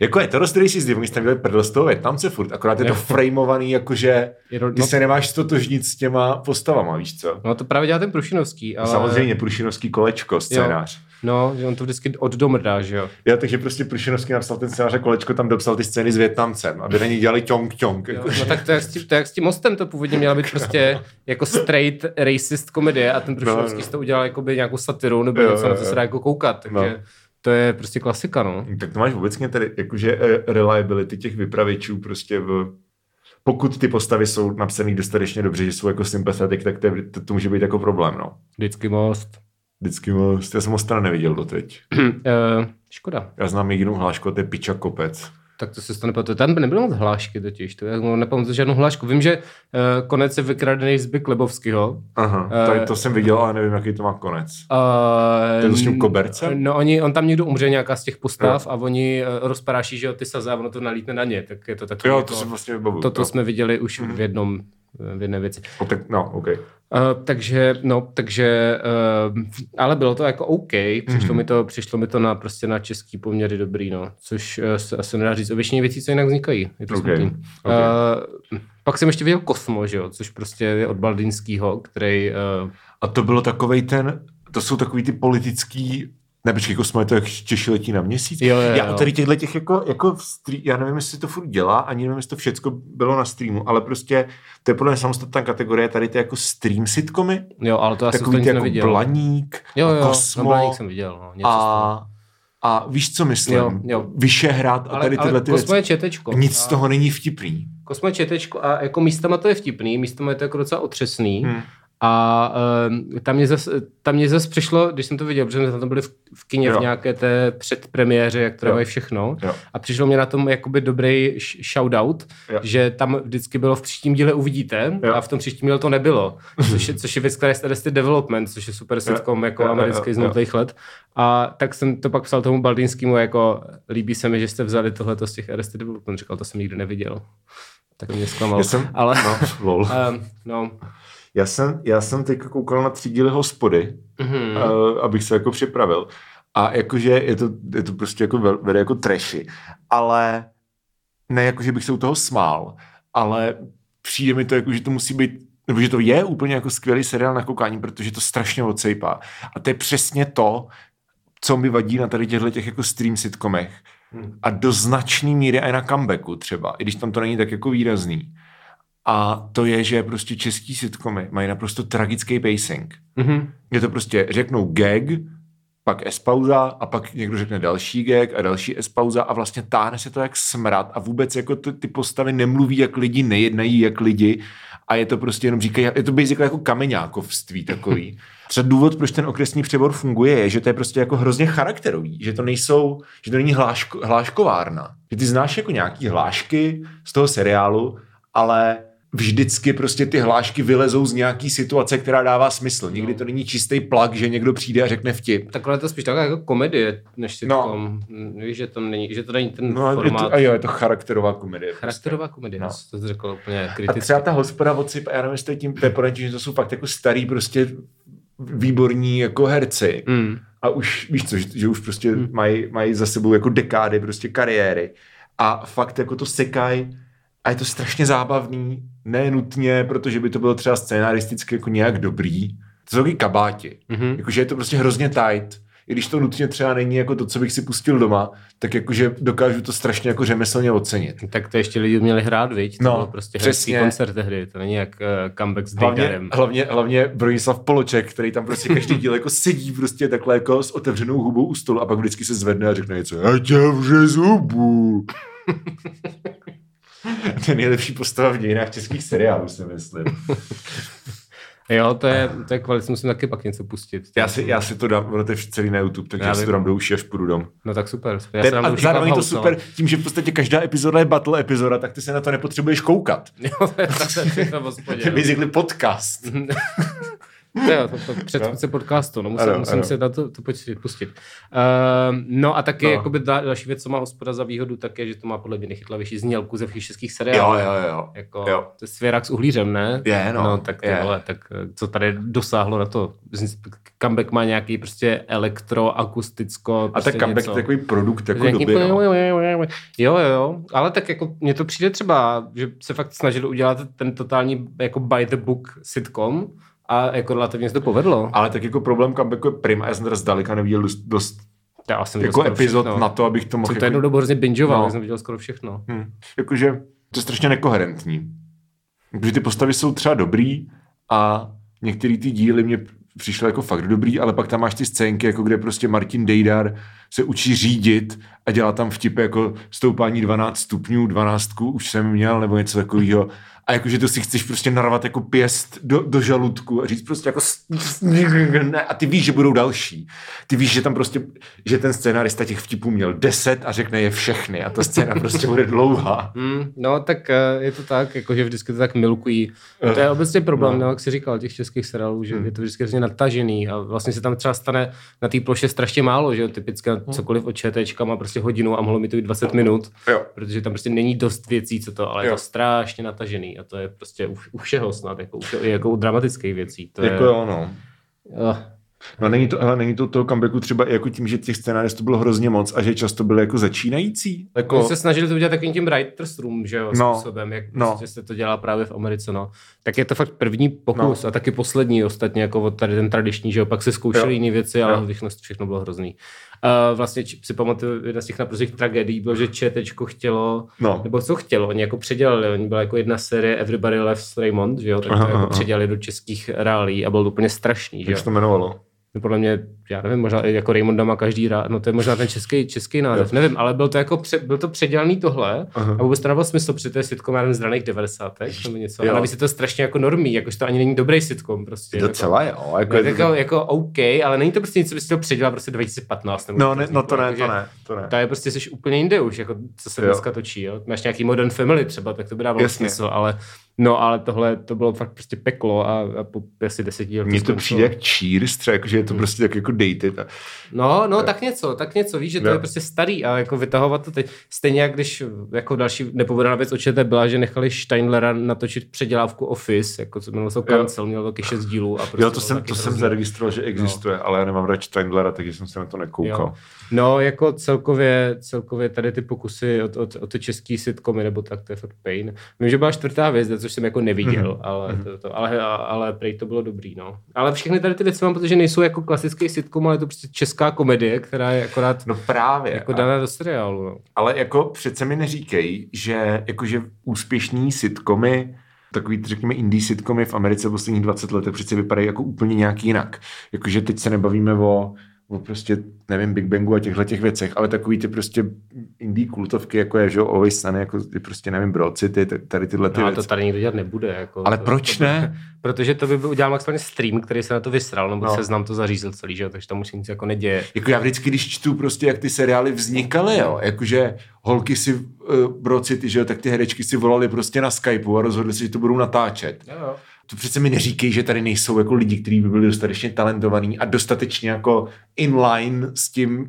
Speaker 1: Jako je to dost racist, oni jste dělali prdel z toho Větnamce furt, akorát je to
Speaker 2: Jo.
Speaker 1: frameovaný, jakože
Speaker 2: je ro-
Speaker 1: ty
Speaker 2: no,
Speaker 1: se nemáš stotožnit s těma postavama, víš co?
Speaker 2: no, to právě dělá ten Prušinovský, ale...
Speaker 1: Samozřejmě Prušinovský kolečko, scénář. Jo.
Speaker 2: No, že on to vždycky od domrdá, že jo.
Speaker 1: Jo, takže prostě Prušinovský napsal ten scénář a kolečko tam dopsal ty scény s Větnamcem, aby na ní dělali ťong ťong.
Speaker 2: Jo,
Speaker 1: Jako.
Speaker 2: No tak to jak, s tím, to jak s tím mostem to původně měla být prostě jako straight racist komedie a ten Prušinovský
Speaker 1: No, no.
Speaker 2: no, to udělal jakoby nějakou satiru nebo
Speaker 1: Jo,
Speaker 2: jo, něco,
Speaker 1: jo,
Speaker 2: na co
Speaker 1: jo.
Speaker 2: se dá jako koukat, takže
Speaker 1: No.
Speaker 2: no. to je prostě klasika, no.
Speaker 1: Hm, Tak to máš obecně tedy, jakože eh, reliability těch vypravěčů prostě v pokud ty postavy jsou napsané dostatečně dobře, že jsou jako sympathetic, tak to, je, to, to může být jako problém, no.
Speaker 2: Vždycky most.
Speaker 1: Vždycky most, já jsem Ostra neviděl doteď.
Speaker 2: eh, škoda.
Speaker 1: Já znám jedinou hlášku, a to je Piča Kopec.
Speaker 2: Tak to se to nepamatuju. Tam by nebylo moc hlášky totiž, to já jako nepamatuju žádnou hlášku. Vím, že eh, konec je vykradený z Byk Lebovského.
Speaker 1: Aha,
Speaker 2: Eh,
Speaker 1: to, to jsem viděl, ale nevím, jaký to má konec.
Speaker 2: Uh,
Speaker 1: To je s tím kobercem?
Speaker 2: No, oni, on tam někdo umře, nějaká z těch postav, a oni uh, rozparáší, že jo, ty saze a ono to nalítne na ně. Tak je to takový.
Speaker 1: Jo,
Speaker 2: jako,
Speaker 1: to jsem vlastně vybavuju.
Speaker 2: to,
Speaker 1: jo.
Speaker 2: to jsme viděli už
Speaker 1: Mhm.
Speaker 2: v jednom eh, v jedné věci.
Speaker 1: O, tak, no, OK.
Speaker 2: Uh, takže, no, takže, uh, ale bylo to jako OK, přišlo,
Speaker 1: Mhm.
Speaker 2: mi to, přišlo mi to na prostě na český poměry dobrý, no, což uh, se asi nedá říct o většině věcí, co jinak vznikají, je to
Speaker 1: OK,
Speaker 2: okay. smutný.
Speaker 1: OK.
Speaker 2: Uh, pak jsem ještě viděl Kosmo, že jo, což prostě je od Baldinskýho, který, uh,
Speaker 1: A to bylo takovej ten, to jsou takový ty politický Ne, počkej, Kosmo, je to jak Češi letí na měsíc.
Speaker 2: Jo, jo,
Speaker 1: já
Speaker 2: jo.
Speaker 1: tady těchto těch jako, jako v stream, já nevím, jestli to furt dělá, ani nevím, jestli to všecko bylo na streamu, ale prostě to je podle mě samostatná kategorie, tady ty jako stream sitcomy,
Speaker 2: Jo, ale to já jsem to
Speaker 1: takový
Speaker 2: nic
Speaker 1: ty jako
Speaker 2: neviděl.
Speaker 1: Blaník,
Speaker 2: jo, jo,
Speaker 1: Kosmo
Speaker 2: no, Blaník jsem viděl. No, něco a...
Speaker 1: a, a víš, co myslím?
Speaker 2: Jo, jo.
Speaker 1: Vyšehrad a
Speaker 2: Ale,
Speaker 1: tady tyhle
Speaker 2: ale
Speaker 1: ty věci.
Speaker 2: Kosmo je četečko.
Speaker 1: Nic
Speaker 2: Jako, a,
Speaker 1: z toho není vtipný.
Speaker 2: Kosmo je četečko a jako místama to je vtipný, místama je to jako docela otřesný.
Speaker 1: Hmm.
Speaker 2: A um, tam, mě zas, tam mě zas přišlo, když jsem to viděl, protože jsme tam byli v, v kině
Speaker 1: Jo.
Speaker 2: v nějaké té předpremiéře, jak to
Speaker 1: Jo.
Speaker 2: dávají všechno.
Speaker 1: Jo.
Speaker 2: A přišlo mě na tom jakoby dobrý š- shoutout,
Speaker 1: Jo.
Speaker 2: že tam vždycky bylo v příštím díle uvidíte
Speaker 1: Jo.
Speaker 2: a v tom příštím díle to nebylo. Což je, což je věc, která je z Arrested Development, což je super sitcom jako
Speaker 1: Jo, jo,
Speaker 2: americký
Speaker 1: jo,
Speaker 2: z nutných let. A tak jsem to pak psal tomu Baldinskému jako líbí se mi, že jste vzali tohleto z těch Arrested Development. Říkal, to jsem nikdy neviděl. Tak mě zklamal.
Speaker 1: Já jsem-
Speaker 2: Ale,
Speaker 1: No, lol.
Speaker 2: um, no.
Speaker 1: Já jsem, já jsem teď koukal na tři díly hospody,
Speaker 2: Mhm.
Speaker 1: eh, abych se jako připravil. A jakože je to, je to prostě jako vel- vede jako trashy. Ale ne jakože bych se u toho smál, ale přijde mi to jako, že to musí být, nebo že to je úplně jako skvělý seriál na koukání, protože to strašně odsejpá. A to je přesně to, co mi vadí na tady těchto těch jako stream sitcomech.
Speaker 2: Hmm.
Speaker 1: A do značný míry i na comebacku třeba, i když tam to není tak jako výrazný. A to je, že prostě český sitcomy mají naprosto tragický pacing.
Speaker 2: Mhm.
Speaker 1: Je to prostě, řeknou gag, pak S-pauza a pak někdo řekne další gag a další S-pauza a vlastně táhne se to jak smrad a vůbec jako ty, ty postavy nemluví jak lidi, nejednají jak lidi a je to prostě jenom říkají, je to basically jako kameňákovství takový. Třeba důvod, proč ten okresní přebor funguje, je, že to je prostě jako hrozně charakterový, že to nejsou, že to není hláško, hláškovárna. Že ty znáš jako nějaký hlášky z toho seriálu, ale vždycky prostě ty hlášky vylezou z nějaký situace, která dává smysl. Nikdy to není čistý plak, že někdo přijde a řekne vtip.
Speaker 2: Takhle je to spíš taková jako komedie, než
Speaker 1: No.
Speaker 2: sitcom. No. Víš, že, tam není, že to není ten
Speaker 1: No, je
Speaker 2: Hmm, formát.
Speaker 1: to, a jo, je to charakterová komedie. prostě.
Speaker 2: Charakterová komedie,
Speaker 1: No.
Speaker 2: no. to jsi řekl úplně
Speaker 1: A
Speaker 2: kriticky.
Speaker 1: třeba ta hospoda od Sip, já nevím, jestli to je tím, to je podle mě, že to jsou fakt jako starý prostě výborní jako herci.
Speaker 2: Mm.
Speaker 1: a už víš co, že, že už prostě hmm. mají, mají za sebou jako dekády prostě kariéry a fakt jako to sekají a je to strašně zábavný, ne nutně, protože by to bylo třeba scénaristicky jako nějak dobrý. To jsou taky kabáti.
Speaker 2: Mhm.
Speaker 1: Jakože je to prostě hrozně tight. I když to nutně třeba není jako to, co bych si pustil doma, tak jakože dokážu to strašně jako řemeslně ocenit.
Speaker 2: Tak to ještě lidi měli hrát, viď? To
Speaker 1: No,
Speaker 2: byl prostě
Speaker 1: přesně.
Speaker 2: hezký koncert tehdy, to není jak uh, comeback s
Speaker 1: Hlavně,
Speaker 2: Dejdarem.
Speaker 1: hlavně, hlavně Bronislav Poloček, který tam prostě každý díl jako sedí prostě takhle jako s otevřenou hubou u stolu a pak vždycky se zvedne a řekne něco. Já tě vře
Speaker 2: *laughs*
Speaker 1: zubu. to je nejlepší postava v dějinách českých seriálů, si myslím.
Speaker 2: Jo, to je, to je kvalit, musím taky pak něco pustit.
Speaker 1: Já si, já si to dám, ono to je celý na YouTube, takže
Speaker 2: Já
Speaker 1: já, si
Speaker 2: vím.
Speaker 1: to dám do uší, až půjdu dom.
Speaker 2: No tak super. Já
Speaker 1: Ten,
Speaker 2: se dám
Speaker 1: a
Speaker 2: už no.
Speaker 1: zároveň je to
Speaker 2: Clubhouse, *laughs*
Speaker 1: super, tím, že v podstatě každá epizoda je battle epizoda, tak ty se na to nepotřebuješ koukat.
Speaker 2: No. tak to je
Speaker 1: To je
Speaker 2: všechno v
Speaker 1: *laughs*
Speaker 2: hospodě. no.
Speaker 1: basically podcast.
Speaker 2: Mhm. To Jo, to,
Speaker 1: *laughs*
Speaker 2: to předchůdce podcastu, no musím,
Speaker 1: Ano,
Speaker 2: ano, musím
Speaker 1: ano.
Speaker 2: ano. se na to, to počít, pustit. Uh, no a taky
Speaker 1: No.
Speaker 2: no. Jakoby da, další věc, co má hospoda za výhodu, tak je, že to má podle mě nechytlavější znělku ze všech českých seriálů.
Speaker 1: Jo, jo, jo.
Speaker 2: Jako,
Speaker 1: Jo.
Speaker 2: jo. To je svěrak s uhlířem, ne?
Speaker 1: Je, no.
Speaker 2: no tak ty
Speaker 1: Je.
Speaker 2: vole, tak eh, co tady dosáhlo na to? Z- Comeback má nějaký prostě elektroakusticko.
Speaker 1: A
Speaker 2: Prostě
Speaker 1: tak comeback
Speaker 2: něco.
Speaker 1: je takový produkt jako
Speaker 2: Nějaký-
Speaker 1: doby. No.
Speaker 2: Jo, jo, jo, ale tak jako mně to přijde třeba, že se fakt snažili udělat ten totální jako by the book sitcom a jako relativně se to povedlo.
Speaker 1: Ale tak jako problém comebacku je Prima, já jsem teda zdaleka neviděl dost, dost
Speaker 2: Já jsem
Speaker 1: jako epizod
Speaker 2: všechno.
Speaker 1: na to, abych to mohl...
Speaker 2: Jsem no. to jednou dobu hrozně bingeoval,
Speaker 1: No.
Speaker 2: no. tak jsem viděl skoro všechno.
Speaker 1: hm, jakože to je strašně nekoherentní. Protože ty postavy jsou třeba dobrý a některé ty díly mě přišly jako fakt dobrý, ale pak tam máš ty scénky, jako kde prostě Martin Dejdar se učí řídit a dělá tam vtipy jako stoupání 12 stupňů, 12 už jsem měl, nebo něco takového. A jakože to si chceš prostě narvat jako pěst do, do žaludku a říct prostě jako s- s- ne, a ty víš, že budou další. Ty víš, že tam prostě, že ten scénarista těch vtipů měl 10 a řekne je všechny a ta scéna prostě bude dlouhá.
Speaker 2: Hmm, no tak eh, je to tak, jako, že vždycky to tak milkují. To
Speaker 1: Eh,
Speaker 2: je obecně problém, no. jak jsi říkal, těch českých seriálů, že
Speaker 1: Hm.
Speaker 2: je to vždycky hrozně natažený a vlastně se tam třeba stane na té ploše strašně málo, že jo, typicky
Speaker 1: Hm.
Speaker 2: na cokoliv od ČTčka má prostě hodinu a mohlo mi to být 20 minut,
Speaker 1: Jo.
Speaker 2: protože tam prostě není dost věcí, co to, ale jo. je
Speaker 1: Jo.
Speaker 2: to strašně natažený a to je prostě u, u všeho snad, jako, u, všeho, i jako u dramatických věcí. To
Speaker 1: Jako
Speaker 2: je,
Speaker 1: jo, no.
Speaker 2: Uh,
Speaker 1: No a není to, ale není to toho comebacku třeba i jako tím, že těch scénáristů bylo hrozně moc a že často byly jako začínající? Jako...
Speaker 2: Oni se snažili to udělat takovým tím writer's room, že jo,
Speaker 1: No.
Speaker 2: no. způsobem, jak
Speaker 1: No.
Speaker 2: no. prostě se to dělá právě v Americe, no. Tak je to fakt první pokus no. a taky poslední ostatně, jako od tady ten tradiční, že jo, pak se
Speaker 1: Jo.
Speaker 2: zkoušeli jiné věci,
Speaker 1: Jo.
Speaker 2: ale všechno, všechno bylo hrozný. Uh, vlastně či- si pamatuju, jedna z těch naprostých tragédií bylo, že ČTčko chtělo,
Speaker 1: No.
Speaker 2: nebo co chtělo, oni jako předělali, oni byla jako jedna série Everybody Loves Raymond, že jo, tak to
Speaker 1: Aha,
Speaker 2: jako
Speaker 1: aha.
Speaker 2: předělali do českých reálí a bylo to úplně strašný, že
Speaker 1: Jak
Speaker 2: jo.
Speaker 1: se to jmenovalo?
Speaker 2: No podle mě, já nevím, možná i jako Raymonda má každý rád, no to je možná ten český, český název, nevím, ale byl to jako pře, byl to předělaný tohle
Speaker 1: Aha.
Speaker 2: a vůbec to nebyl smysl, protože to je sitcom, já nevím, z raných 90. nebo něco,
Speaker 1: Jo.
Speaker 2: a navíc je to strašně jako normý, jakože to ani není dobrý sitcom prostě.
Speaker 1: Docela jo. Jako
Speaker 2: Jako,
Speaker 1: je
Speaker 2: no,
Speaker 1: to-
Speaker 2: jako, jako, OK, ale není to prostě něco, co bys to předělal prostě 2015. Nebo
Speaker 1: No, ne, no to
Speaker 2: vzniklo,
Speaker 1: ne,
Speaker 2: jakože
Speaker 1: to ne, to ne.
Speaker 2: To je prostě, jsi úplně jinde už, jako co se
Speaker 1: Jo.
Speaker 2: jo. dneska točí, jo. Máš nějaký Modern Family třeba, tak to by dávalo
Speaker 1: Jasně.
Speaker 2: smysl, ale no, ale tohle, to bylo fakt prostě peklo a, a po asi deseti let
Speaker 1: Mně to
Speaker 2: skončilo.
Speaker 1: přijde jak cheers, třeba, jako, že je to prostě tak jako dated. A...
Speaker 2: No, no, tak něco, tak něco, víš, že to
Speaker 1: Jo.
Speaker 2: je prostě starý a jako vytahovat to teď. Stejně jak když jako další nepovedená věc očete byla, že nechali Steinlera natočit předělávku Office, jako co jmenovalo se to
Speaker 1: Jo.
Speaker 2: Cancel, mělo taky šest dílů. A prostě
Speaker 1: Jo, to
Speaker 2: bylo
Speaker 1: jsem,
Speaker 2: taky
Speaker 1: to jsem
Speaker 2: hrozný. No.
Speaker 1: zaregistroval, že existuje, ale já nemám rád Steinlera, takže jsem se na to nekoukal.
Speaker 2: Jo. No, jako celkově, celkově tady ty pokusy od, od, od ty český sitcomy, nebo tak, to je fakt pain. Vím, že byla čtvrtá hvězda, což jsem jako
Speaker 1: Mhm.
Speaker 2: neviděl, mm-hmm. ale, to, to, ale, a- ale prej to bylo dobrý, no. Ale všechny tady ty věci mám, protože nejsou jako klasický sitcom, ale je to prostě česká komedie, která je akorát
Speaker 1: No právě.
Speaker 2: jako
Speaker 1: A-
Speaker 2: daná do seriálu, no.
Speaker 1: Ale jako přece mi neříkej, že jakože úspěšní sitcomy, takový, řekněme, indie sitcomy v Americe posledních 20 let přece vypadají jako úplně nějak jinak. Jakože teď se nebavíme o, o prostě, nevím, Big Bangu a těchto těch věcech, ale takový ty prostě indie kultovky, jako je, že jo, Always Sunny, jako ty prostě, nevím, Broad City, t- tady tyhle ty
Speaker 2: No,
Speaker 1: no,
Speaker 2: a
Speaker 1: věci.
Speaker 2: to tady nikdo dělat nebude. Jako,
Speaker 1: Ale
Speaker 2: to,
Speaker 1: proč
Speaker 2: to, by-
Speaker 1: ne?
Speaker 2: *laughs* Protože to by byl- udělal maximálně stream, který se na to vysral, nebo
Speaker 1: No.
Speaker 2: no. seznam to zařízl celý, že? jo, takže tam už se nic jako neděje.
Speaker 1: Jako já vždycky, když čtu prostě, jak ty seriály vznikaly, jo, jakože holky si uh, Broad City, že jo, tak ty herečky si volali prostě na Skypeu a rozhodli se, že to budou natáčet. To přece mi neříkej, že tady nejsou jako lidi, kteří by byli dostatečně talentovaní a dostatečně jako inline s tím,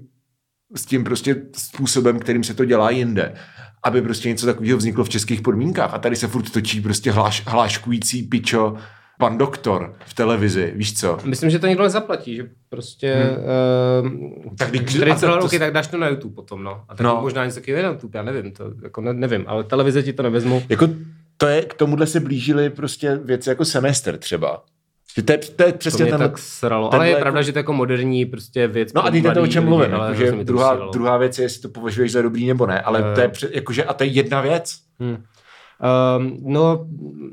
Speaker 1: s tím prostě způsobem, kterým se to dělá jinde. Aby prostě něco takového vzniklo v českých podmínkách. A tady se furt točí prostě hláš, hláškující pičo pan doktor v televizi, víš co?
Speaker 2: Myslím, že to nikdo nezaplatí, že prostě... Hmm. Uh,
Speaker 1: Tak
Speaker 2: tak
Speaker 1: když-
Speaker 2: když
Speaker 1: a
Speaker 2: tady
Speaker 1: to-
Speaker 2: celé
Speaker 1: to-
Speaker 2: roky, tak dáš to na YouTube potom, no. A tak
Speaker 1: No.
Speaker 2: no. možná něco takového je na YouTube, já nevím, to, jako ne, nevím, ale televize ti to nevezmu.
Speaker 1: Jako to je, k tomuhle se blížily prostě věci jako semestr třeba. Že to je, to je
Speaker 2: To
Speaker 1: přesně
Speaker 2: mě
Speaker 1: ten,
Speaker 2: tak sralo.
Speaker 1: tenhle
Speaker 2: Ale je
Speaker 1: jako-
Speaker 2: pravda, že to je jako moderní prostě věc.
Speaker 1: No a
Speaker 2: pro
Speaker 1: teď to, o
Speaker 2: mladý
Speaker 1: čem
Speaker 2: lidi,
Speaker 1: mluvím,
Speaker 2: ale
Speaker 1: jakože
Speaker 2: hrozně mi to Eh.
Speaker 1: druhá,
Speaker 2: přijalo.
Speaker 1: druhá věc je, jestli to považuješ za dobrý nebo ne, ale
Speaker 2: Jo,
Speaker 1: to je
Speaker 2: jo.
Speaker 1: pře- jakože, a to je jedna věc.
Speaker 2: Hmm. Um, no,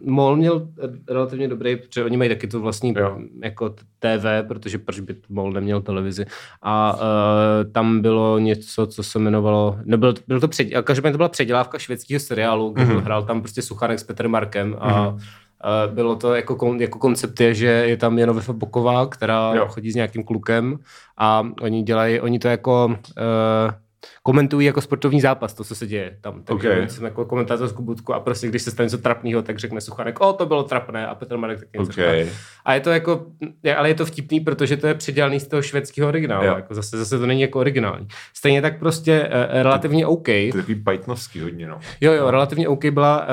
Speaker 2: MOL měl eh, relativně dobrý, protože oni mají taky to vlastní
Speaker 1: Jo.
Speaker 2: jo. jako TV, protože proč by MOL neměl televizi. A uh, tam bylo něco, co se jmenovalo, nebyl, byl to předě, každopádně to byla předělávka švédského seriálu, kde
Speaker 1: Mhm.
Speaker 2: mm-hmm. hrál tam prostě Suchanek s Petrem Markem a mm-hmm. Uh, bylo to jako, kon, jako koncept je, že je tam Janovefa Boková, která
Speaker 1: Jo.
Speaker 2: jo. chodí s nějakým klukem a oni dělají, oni to jako uh, komentují jako sportovní zápas, to, co se děje tam. Takže
Speaker 1: Ok.
Speaker 2: okay. jsem jako komentátorskou budku a prostě, když se stane něco trapného, tak řekne Suchanek, o, to bylo trapné a Petr Marek taky něco řekne. A je to jako, je- ale je to vtipný, protože to je předělaný z toho švédského originálu.
Speaker 1: Jo.
Speaker 2: Jako zase, zase to není jako originální. Stejně tak prostě uh, relativně OK.
Speaker 1: To je takový pajtnovský hodně, no.
Speaker 2: Jo, jo, relativně OK byla uh,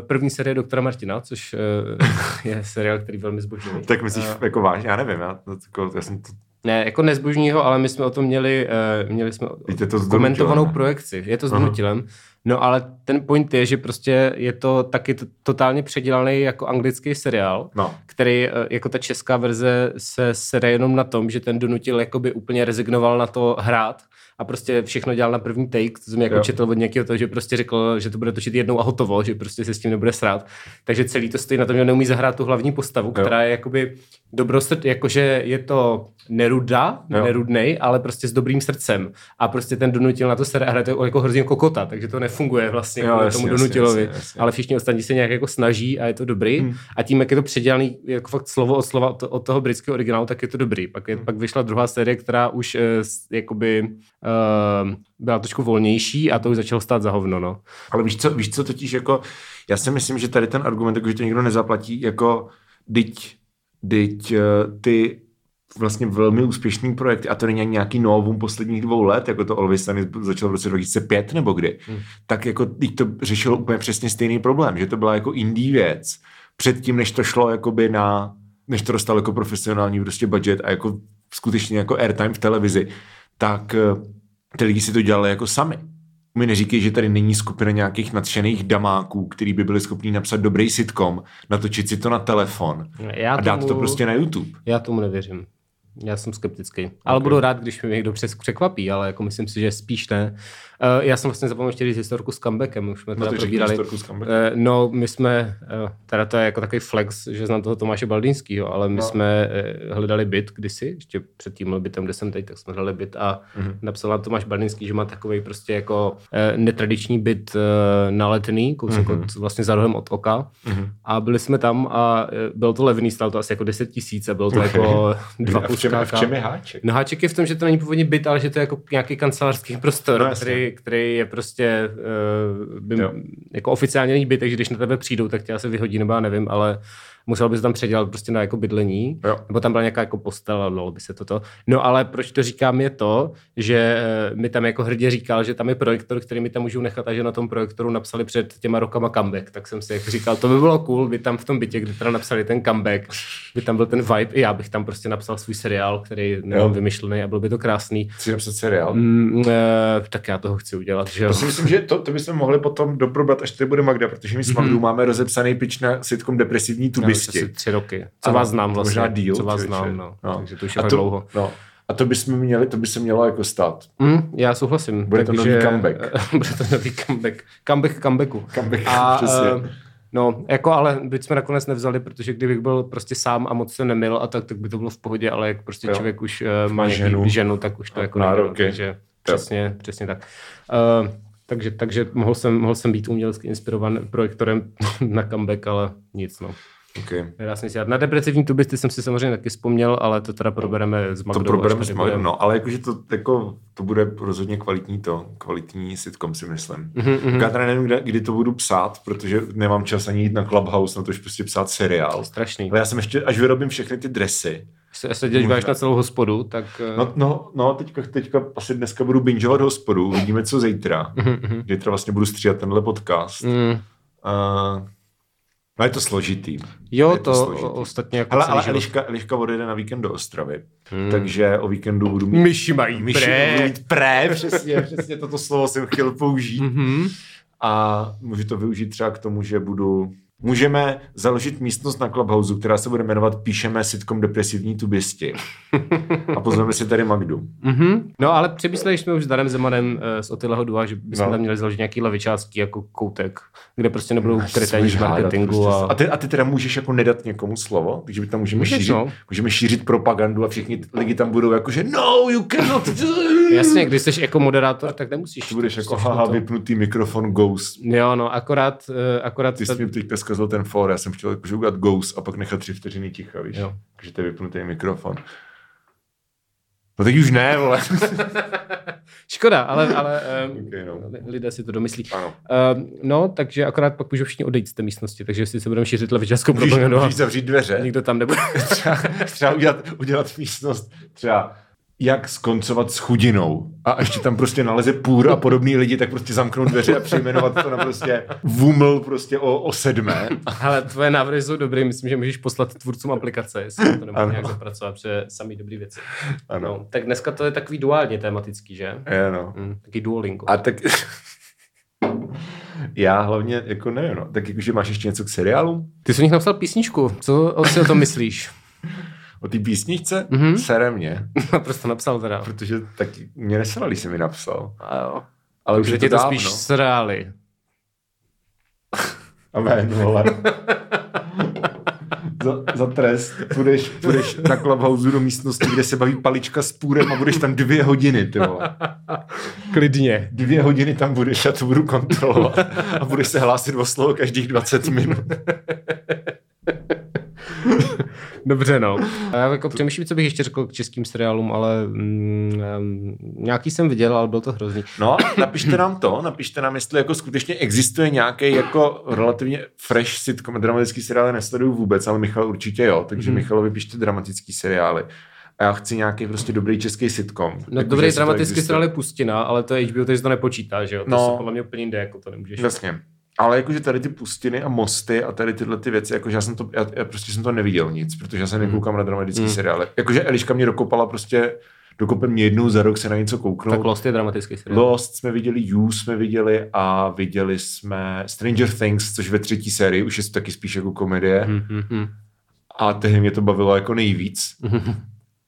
Speaker 2: první série Doktora Martina, což uh, *laughs* je seriál, který velmi zbožňuji.
Speaker 1: Tak myslíš,
Speaker 2: Eh.
Speaker 1: uh, jako vážně, já nevím, já, no, jako, já jsem to,
Speaker 2: Ne, jako nezbožního, ale my jsme o tom měli, eh, měli jsme o-
Speaker 1: Teď je to s
Speaker 2: komentovanou
Speaker 1: Donutilem, ne?
Speaker 2: projekci. Je to s
Speaker 1: Aha.
Speaker 2: Donutilem. No ale ten point je, že prostě je to taky t- totálně předělaný jako anglický seriál,
Speaker 1: no.
Speaker 2: který eh, jako ta česká verze se sere jenom na tom, že ten Donutil jakoby úplně rezignoval na to hrát a prostě všechno dělal na první take, to jsem jako
Speaker 1: Jo.
Speaker 2: jo. četl od nějakého toho, že prostě řekl, že to bude točit jednou a hotovo, že prostě se s tím nebude srát. Takže celý to stojí na tom, že neumí zahrát tu hlavní postavu,
Speaker 1: Jo.
Speaker 2: jo. která je jakoby dobrosrd, jakože je to neruda,
Speaker 1: Jo.
Speaker 2: nerudnej, ale prostě s dobrým srdcem. A prostě ten Donutil na to sere a hraje to jako hrozně kokota, takže to nefunguje vlastně
Speaker 1: Jo,
Speaker 2: jo,
Speaker 1: jasně,
Speaker 2: tomu
Speaker 1: jasně,
Speaker 2: Donutilovi.
Speaker 1: jasně, jasně.
Speaker 2: Ale všichni ostatní se nějak jako snaží a je to dobrý.
Speaker 1: Hmm.
Speaker 2: Hmm. A tím, jak je to předělaný jako fakt slovo od slova od to- od toho britského originálu, tak je to dobrý. Pak,
Speaker 1: Hmm.
Speaker 2: je, pak vyšla druhá série, která už eh, s- jakoby eh, byla trošku volnější a to už začalo stát za hovno, no.
Speaker 1: Ale víš co, víš co, totiž jako, já si myslím, že tady ten argument, jako, že to nikdo nezaplatí, jako, dyť, dyť eh, ty vlastně velmi úspěšný projekt, a to není ani nějaký novum posledních dvou let, jako to Always Sunny začalo v roce 2005 nebo kdy, hmm. tak jako teď to řešilo úplně přesně stejný problém, že to byla jako indie věc, předtím, než to šlo jakoby na, než to dostalo jako profesionální prostě budget a jako skutečně jako airtime v televizi, tak eh, ty lidi si to dělali jako sami. Mi neříkej, že tady není skupina nějakých nadšených damáků, který by byli schopni napsat dobrý sitcom, natočit si to na telefon
Speaker 2: Já
Speaker 1: a dát
Speaker 2: tomu-
Speaker 1: to prostě na YouTube.
Speaker 2: Já tomu nevěřím. Já jsem skeptický. Ale budu rád, když mě někdo přes překvapí, ale jako myslím si, že spíš ne. Eh, já jsem vlastně zapomněl ještě říct historku s comebackem, už jsme
Speaker 1: No
Speaker 2: teda
Speaker 1: to řekni
Speaker 2: probírali.
Speaker 1: historku s comebackem.
Speaker 2: Eh, No, my jsme, eh, teda to je jako takový flex, že znám toho Tomáše Baldínského, ale my no. jsme eh, hledali byt kdysi, ještě před tím bytem, kde jsem teď, tak jsme hledali byt a
Speaker 1: Mhm.
Speaker 2: mm-hmm. napsal nám Tomáš Baldínský, že má takový prostě jako eh, netradiční byt eh, na letný, kousek
Speaker 1: Mhm.
Speaker 2: mm-hmm. od, vlastně za rohem od oka. Mm-hmm. A byli jsme tam a eh, bylo to levný, stalo to asi jako 10 tisíc a bylo
Speaker 1: *laughs*
Speaker 2: to jako dva
Speaker 1: A v čem, a v
Speaker 2: puskáka.
Speaker 1: čem je háček?
Speaker 2: No háček je v tom, že to není původně byt, ale že to je jako nějaký kancelářský prostor,
Speaker 1: No,
Speaker 2: no,
Speaker 1: jasně.
Speaker 2: který, který je prostě uh, by,
Speaker 1: Jo.
Speaker 2: jako oficiálně není byt, takže když na tebe přijdou, tak tě asi vyhodí, nebo já nevím, ale musel by se tam předělat prostě na jako bydlení,
Speaker 1: Jo.
Speaker 2: nebo tam byla nějaká jako postel a dalo by se toto. No ale proč to říkám je to, že eh, mi tam jako hrdě říkal, že tam je projektor, který mi tam můžou nechat a že na tom projektoru napsali před těma rokama comeback, tak jsem si jako říkal, to by bylo cool, by tam v tom bytě, kde teda napsali ten comeback, by tam byl ten vibe, i já bych tam prostě napsal svůj seriál, který
Speaker 1: Jo.
Speaker 2: nemám vymyšlený a bylo by to krásný.
Speaker 1: Chci napsat seriál.
Speaker 2: Mm, eh, tak já toho chci udělat, že jo.
Speaker 1: To si myslím, že to, to bychom mohli potom doprobrat, až tady bude Magda, protože my s
Speaker 2: Mhm.
Speaker 1: Magdou máme rozepsaný pič na sitcom depresivní
Speaker 2: Já už asi
Speaker 1: tubisti.
Speaker 2: tři roky. Co
Speaker 1: Ano,
Speaker 2: vás znám
Speaker 1: to
Speaker 2: vlastně,
Speaker 1: Možná díl,
Speaker 2: co vás
Speaker 1: člověče.
Speaker 2: znám, no. no. Takže to už
Speaker 1: A
Speaker 2: je to... dlouho.
Speaker 1: No. A to bychom měli, to by se mělo jako stát.
Speaker 2: Mm, já souhlasím.
Speaker 1: Bude to
Speaker 2: takže-
Speaker 1: nový comeback.
Speaker 2: *laughs* Bude to nový comeback. Comeback comebacku.
Speaker 1: Comeback,
Speaker 2: *laughs*
Speaker 1: *laughs*
Speaker 2: A,
Speaker 1: přesně.
Speaker 2: eh, No, jako ale byť jsme nakonec nevzali, protože kdybych byl prostě sám a moc se nemil a tak, tak by to bylo v pohodě, ale jak prostě
Speaker 1: Jo.
Speaker 2: jo. člověk už uh, má
Speaker 1: ženu.
Speaker 2: ženu. ženu, tak už to
Speaker 1: A
Speaker 2: jako
Speaker 1: nároky.
Speaker 2: nejde, takže přesně, přesně tak. Uh, takže, takže mohl, jsem, mohl jsem být umělecky inspirovan projektorem *laughs* na comeback, ale nic no.
Speaker 1: Okay.
Speaker 2: Nedá se nic dělat. Na depresivní tubisty jsem si samozřejmě taky vzpomněl, ale to teda probereme s
Speaker 1: To
Speaker 2: Magdou. až
Speaker 1: probereme
Speaker 2: tady
Speaker 1: s
Speaker 2: budeme.
Speaker 1: Magdou, no, ale jakože to, jako, to bude rozhodně kvalitní to, kvalitní sitcom si myslím.
Speaker 2: Mhm,
Speaker 1: Mm-hmm. Já teda nevím, kde, kdy to budu psát, protože nemám čas ani jít na Clubhouse, na to, že prostě psát seriál.
Speaker 2: Strašný.
Speaker 1: Ale já jsem ještě, až vyrobím všechny ty dresy,
Speaker 2: se, se díváš
Speaker 1: Možná.
Speaker 2: na celou hospodu, tak... eh, *laughs*
Speaker 1: No, no, no teďka, teďka asi dneska budu bingeovat hospodu, uvidíme co zítra. Zítra vlastně budu stříhat tenhle podcast.
Speaker 2: Mm,
Speaker 1: Uh, no je to složitý.
Speaker 2: jo,
Speaker 1: je
Speaker 2: to,
Speaker 1: složitý.
Speaker 2: o- ostatně jako
Speaker 1: Hele,
Speaker 2: celý
Speaker 1: ale
Speaker 2: život.
Speaker 1: Eliška, Eliška odjede na víkend do Ostravy, hmm. takže o víkendu budu mít...
Speaker 2: Myši mají
Speaker 1: myši
Speaker 2: pré.
Speaker 1: budu mít pré, *laughs* přesně, přesně toto slovo jsem chtěl použít.
Speaker 2: Mhm.
Speaker 1: A můžu to využít třeba k tomu, že budu... Můžeme založit místnost na Clubhouse, která se bude jmenovat Píšeme sitcom depresivní tubisti. *laughs* A pozveme si tady Magdu.
Speaker 2: Mhm. No ale přemýšleli jsme už s Danem Zemanem eh, z Otyleho Dua, že bychom
Speaker 1: No.
Speaker 2: tam měli založit nějaký levičácký jako koutek, kde prostě nebudou
Speaker 1: Až
Speaker 2: kreténi
Speaker 1: smíš
Speaker 2: z
Speaker 1: No, hádat
Speaker 2: marketingu
Speaker 1: prostě.
Speaker 2: a...
Speaker 1: A, ty, a ty teda můžeš jako nedat někomu slovo, takže by tam můžeme,
Speaker 2: Můžeš,
Speaker 1: šířit,
Speaker 2: no.
Speaker 1: můžeme šířit propagandu a všichni t- lidi tam budou jako, že no, you cannot do it."
Speaker 2: Jasně, když jsi jako moderátor, tak nemusíš.
Speaker 1: Ty budeš
Speaker 2: to
Speaker 1: jako,
Speaker 2: prostě
Speaker 1: haha,
Speaker 2: to-
Speaker 1: vypnutý mikrofon Ghost.
Speaker 2: Jo, no, akorát, eh, akorát
Speaker 1: Ty
Speaker 2: ta-
Speaker 1: jsi mi teďka zkazil ten for, já jsem chtěl jako že udělat Ghost a pak nechat tři vteřiny ticha, víš?
Speaker 2: Jo.
Speaker 1: Takže to je vypnutý mikrofon. No teď už ne, vole.
Speaker 2: Škoda, ale, ale
Speaker 1: *laughs*
Speaker 2: um,
Speaker 1: Ok, no.
Speaker 2: li- lidé si to domyslí.
Speaker 1: Ano.
Speaker 2: Um, no, takže akorát pak můžou všichni odejít z té místnosti, takže si se budeme šířit levičáckou
Speaker 1: Můžeš,
Speaker 2: propagandu a
Speaker 1: můžeš zavřít dveře.
Speaker 2: nikdo tam nebude.
Speaker 1: třeba, třeba udělat, udělat místnost třeba jak skoncovat s chudinou. A ještě tam prostě naleze půr a podobný lidi, tak prostě zamknout dveře a přejmenovat to na prostě vuml prostě o, o sedmé.
Speaker 2: Ale tvoje návrhy jsou dobré, myslím, že můžeš poslat tvůrcům aplikace, jestli to
Speaker 1: Ano.
Speaker 2: nebude nějak zapracovat, protože samý dobrý věci.
Speaker 1: Ano.
Speaker 2: No, tak dneska to je takový duálně tematický, že?
Speaker 1: Je, no.
Speaker 2: Mm, taky duolingo.
Speaker 1: A tak... Já hlavně, jako nevím, no. Tak jakože máš ještě něco k seriálu?
Speaker 2: Ty jsi o nich napsal písničku, co o- si o tom myslíš? *laughs*
Speaker 1: O té písničce?
Speaker 2: Mhm.
Speaker 1: Sere mě.
Speaker 2: prostě napsal teda.
Speaker 1: Protože taky mě nesrali, když jsem mi napsal.
Speaker 2: A jo.
Speaker 1: Ale už
Speaker 2: Že
Speaker 1: je
Speaker 2: tě
Speaker 1: to
Speaker 2: to
Speaker 1: dávno. no.
Speaker 2: spíš sráli.
Speaker 1: Amen, vole. *laughs* za, za trest půjdeš, půjdeš na Clubhouse do místnosti, kde se baví palička s půrem a budeš tam dvě hodiny, ty vole.
Speaker 2: Klidně.
Speaker 1: Dvě hodiny tam budeš, já to budu kontrolovat. A budeš se hlásit o slovo každých 20 minut.
Speaker 2: Dobře, no. A já jako přemýšlím, co bych ještě řekl k českým seriálům, ale mm, em, nějaký jsem viděl, ale byl to hrozný.
Speaker 1: No, napište nám to, napište nám, jestli jako skutečně existuje nějaký jako relativně fresh sitcom, dramatický seriály nesleduju vůbec, ale Michal určitě jo, takže mm. Michalovi pište dramatický seriály. A já chci nějaký prostě dobrý český sitcom. Jako,
Speaker 2: No,
Speaker 1: že
Speaker 2: dobrý
Speaker 1: jestli to
Speaker 2: dramatický
Speaker 1: existuje.
Speaker 2: seriál je Pustina, ale to je HBO, takže to nepočítá, že jo? To
Speaker 1: No.
Speaker 2: se podle mě úplně jde, jako to nemůžeš.
Speaker 1: Jasně. Ale jakože tady ty pustiny a mosty a tady tyhle ty věci, jakože já jsem to, já, já prostě jsem to neviděl nic, protože já se
Speaker 2: Hmm.
Speaker 1: nekoukám na dramatický mm. seriály. Jakože Eliška mě dokopala prostě, dokope mě jednou za rok se na něco kouknout.
Speaker 2: Tak Lost je dramatický seriál.
Speaker 1: Lost jsme viděli, You jsme viděli a viděli jsme Stranger Things, což ve třetí sérii už je taky spíš jako komedie.
Speaker 2: Hmm.
Speaker 1: Mm, mm, mm. A tehdy mě to bavilo jako nejvíc. Mm.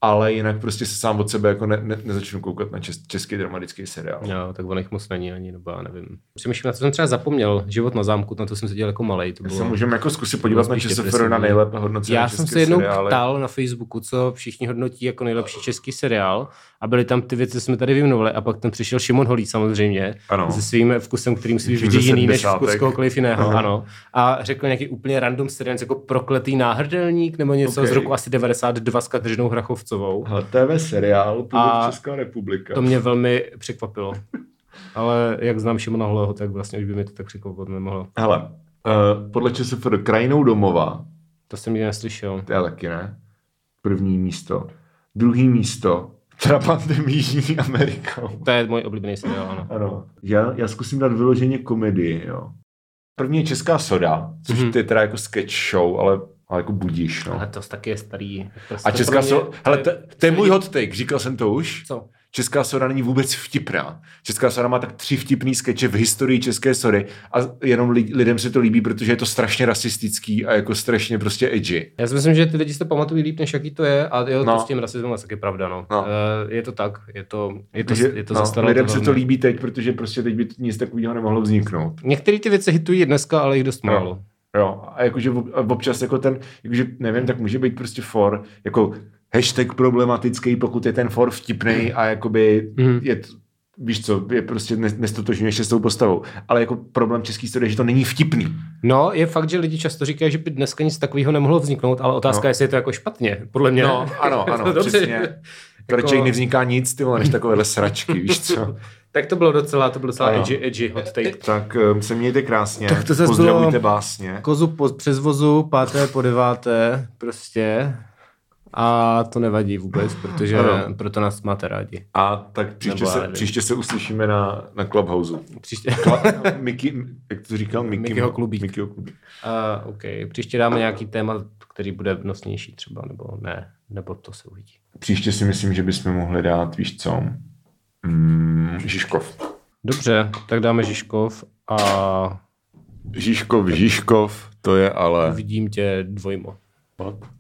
Speaker 1: Ale jinak prostě se sám od sebe jako ne, ne, nezačnu koukat na čes, český dramatický seriál.
Speaker 2: Jo, tak on jich moc není ani, nebo já nevím. Přemýšlím, na co jsem třeba zapomněl. Život na zámku, na to jsem se dělal jako malý. To
Speaker 1: bylo... Se můžeme jako zkusit podívat na ČSFR na nejlépe hodnocené
Speaker 2: Já jsem se jednou seriály. ptal na Facebooku, co všichni hodnotí jako nejlepší český seriál. A byly tam ty věci, co jsme tady vyjmenovali. A pak tam přišel Šimon Holý samozřejmě.
Speaker 1: Ano.
Speaker 2: Se svým vkusem, který musí být vždy jiný než vkus kohokoliv jiného. Aha. Ano. A řekl nějaký úplně random seriál, jako prokletý náhrdelník nebo něco okay. z roku asi 92 s Kateřinou Hrachovou Kovcovou.
Speaker 1: HTV seriál původ a Česká republika.
Speaker 2: To mě velmi překvapilo. Ale jak znám Šimona Holého, tak vlastně už by mi to tak překvapovat nemohlo.
Speaker 1: Hele, uh, podle ČSFR krajinou domova.
Speaker 2: To jsem nikdy neslyšel.
Speaker 1: To já taky ne. První místo. Druhý místo. Trapandem Jižní Amerikou.
Speaker 2: To je můj oblíbený seriál, ano.
Speaker 1: ano. Já, já zkusím dát vyloženě komedii, jo. První je Česká soda, což mm-hmm. je teda jako sketch show, ale ale jako budíš, no.
Speaker 2: Ale to taky je starý.
Speaker 1: Prostě a česká mě, soda, hele, to, to je můj hot take, říkal jsem to už.
Speaker 2: Co?
Speaker 1: Česká soda není vůbec vtipná. Česká soda má tak tři vtipný skeče v historii české sody a jenom li, lidem se to líbí, protože je to strašně rasistický a jako strašně prostě edgy.
Speaker 2: Já si myslím, že ty lidi si to pamatují líp, než jaký to je a jo, no. to s tím rasismem je taky pravda, no. no. E, je to tak, je to, je to, je to no.
Speaker 1: Lidem to se to líbí teď, protože prostě teď by nic takového nemohlo vzniknout.
Speaker 2: Některé ty věci hitují dneska, ale jich dost no. málo.
Speaker 1: Jo, a jakože občas jako ten, jakože nevím, tak může být prostě for, jako hashtag problematický, pokud je ten for vtipný a jakoby
Speaker 2: Mhm.
Speaker 1: mm. je, víš co, je prostě nestotožňuješ se s tou postavou. Ale jako problém český studie, že to není vtipný.
Speaker 2: No, je fakt, že lidi často říkají, že by dneska nic takového nemohlo vzniknout, ale otázka no. je, jestli je to jako špatně, podle mě.
Speaker 1: No, ano,
Speaker 2: *laughs*
Speaker 1: ano, přesně. Jako... Radši nevzniká nic, ty vole, než takovéhle sračky, víš *laughs* co.
Speaker 2: tak to bylo docela, to bylo docela ano. edgy, edgy hot take.
Speaker 1: Tak um, se mějte krásně, tak to zase pozdravujte bylo básně.
Speaker 2: Kozu Jako po, přes vozu, páté po deváté, prostě. A to nevadí vůbec, protože ano. proto nás máte rádi.
Speaker 1: A tak příště, Nebo se, příště se uslyšíme na, na Clubhouse. *laughs*
Speaker 2: Příště...
Speaker 1: Kla- Mickey, jak to říkal? Mickey,
Speaker 2: Mickeyho klubík.
Speaker 1: Mickeyho klubík.
Speaker 2: Uh, OK, příště dáme nějaký téma, který bude nosnější třeba, nebo ne, nebo to se uvidí.
Speaker 1: Příště si myslím, že bychom mohli dát, víš co, mm, Žižkov.
Speaker 2: Dobře, tak dáme Žižkov a...
Speaker 1: Žižkov, Žižkov, to je ale...
Speaker 2: Vidím tě dvojmo.
Speaker 1: What?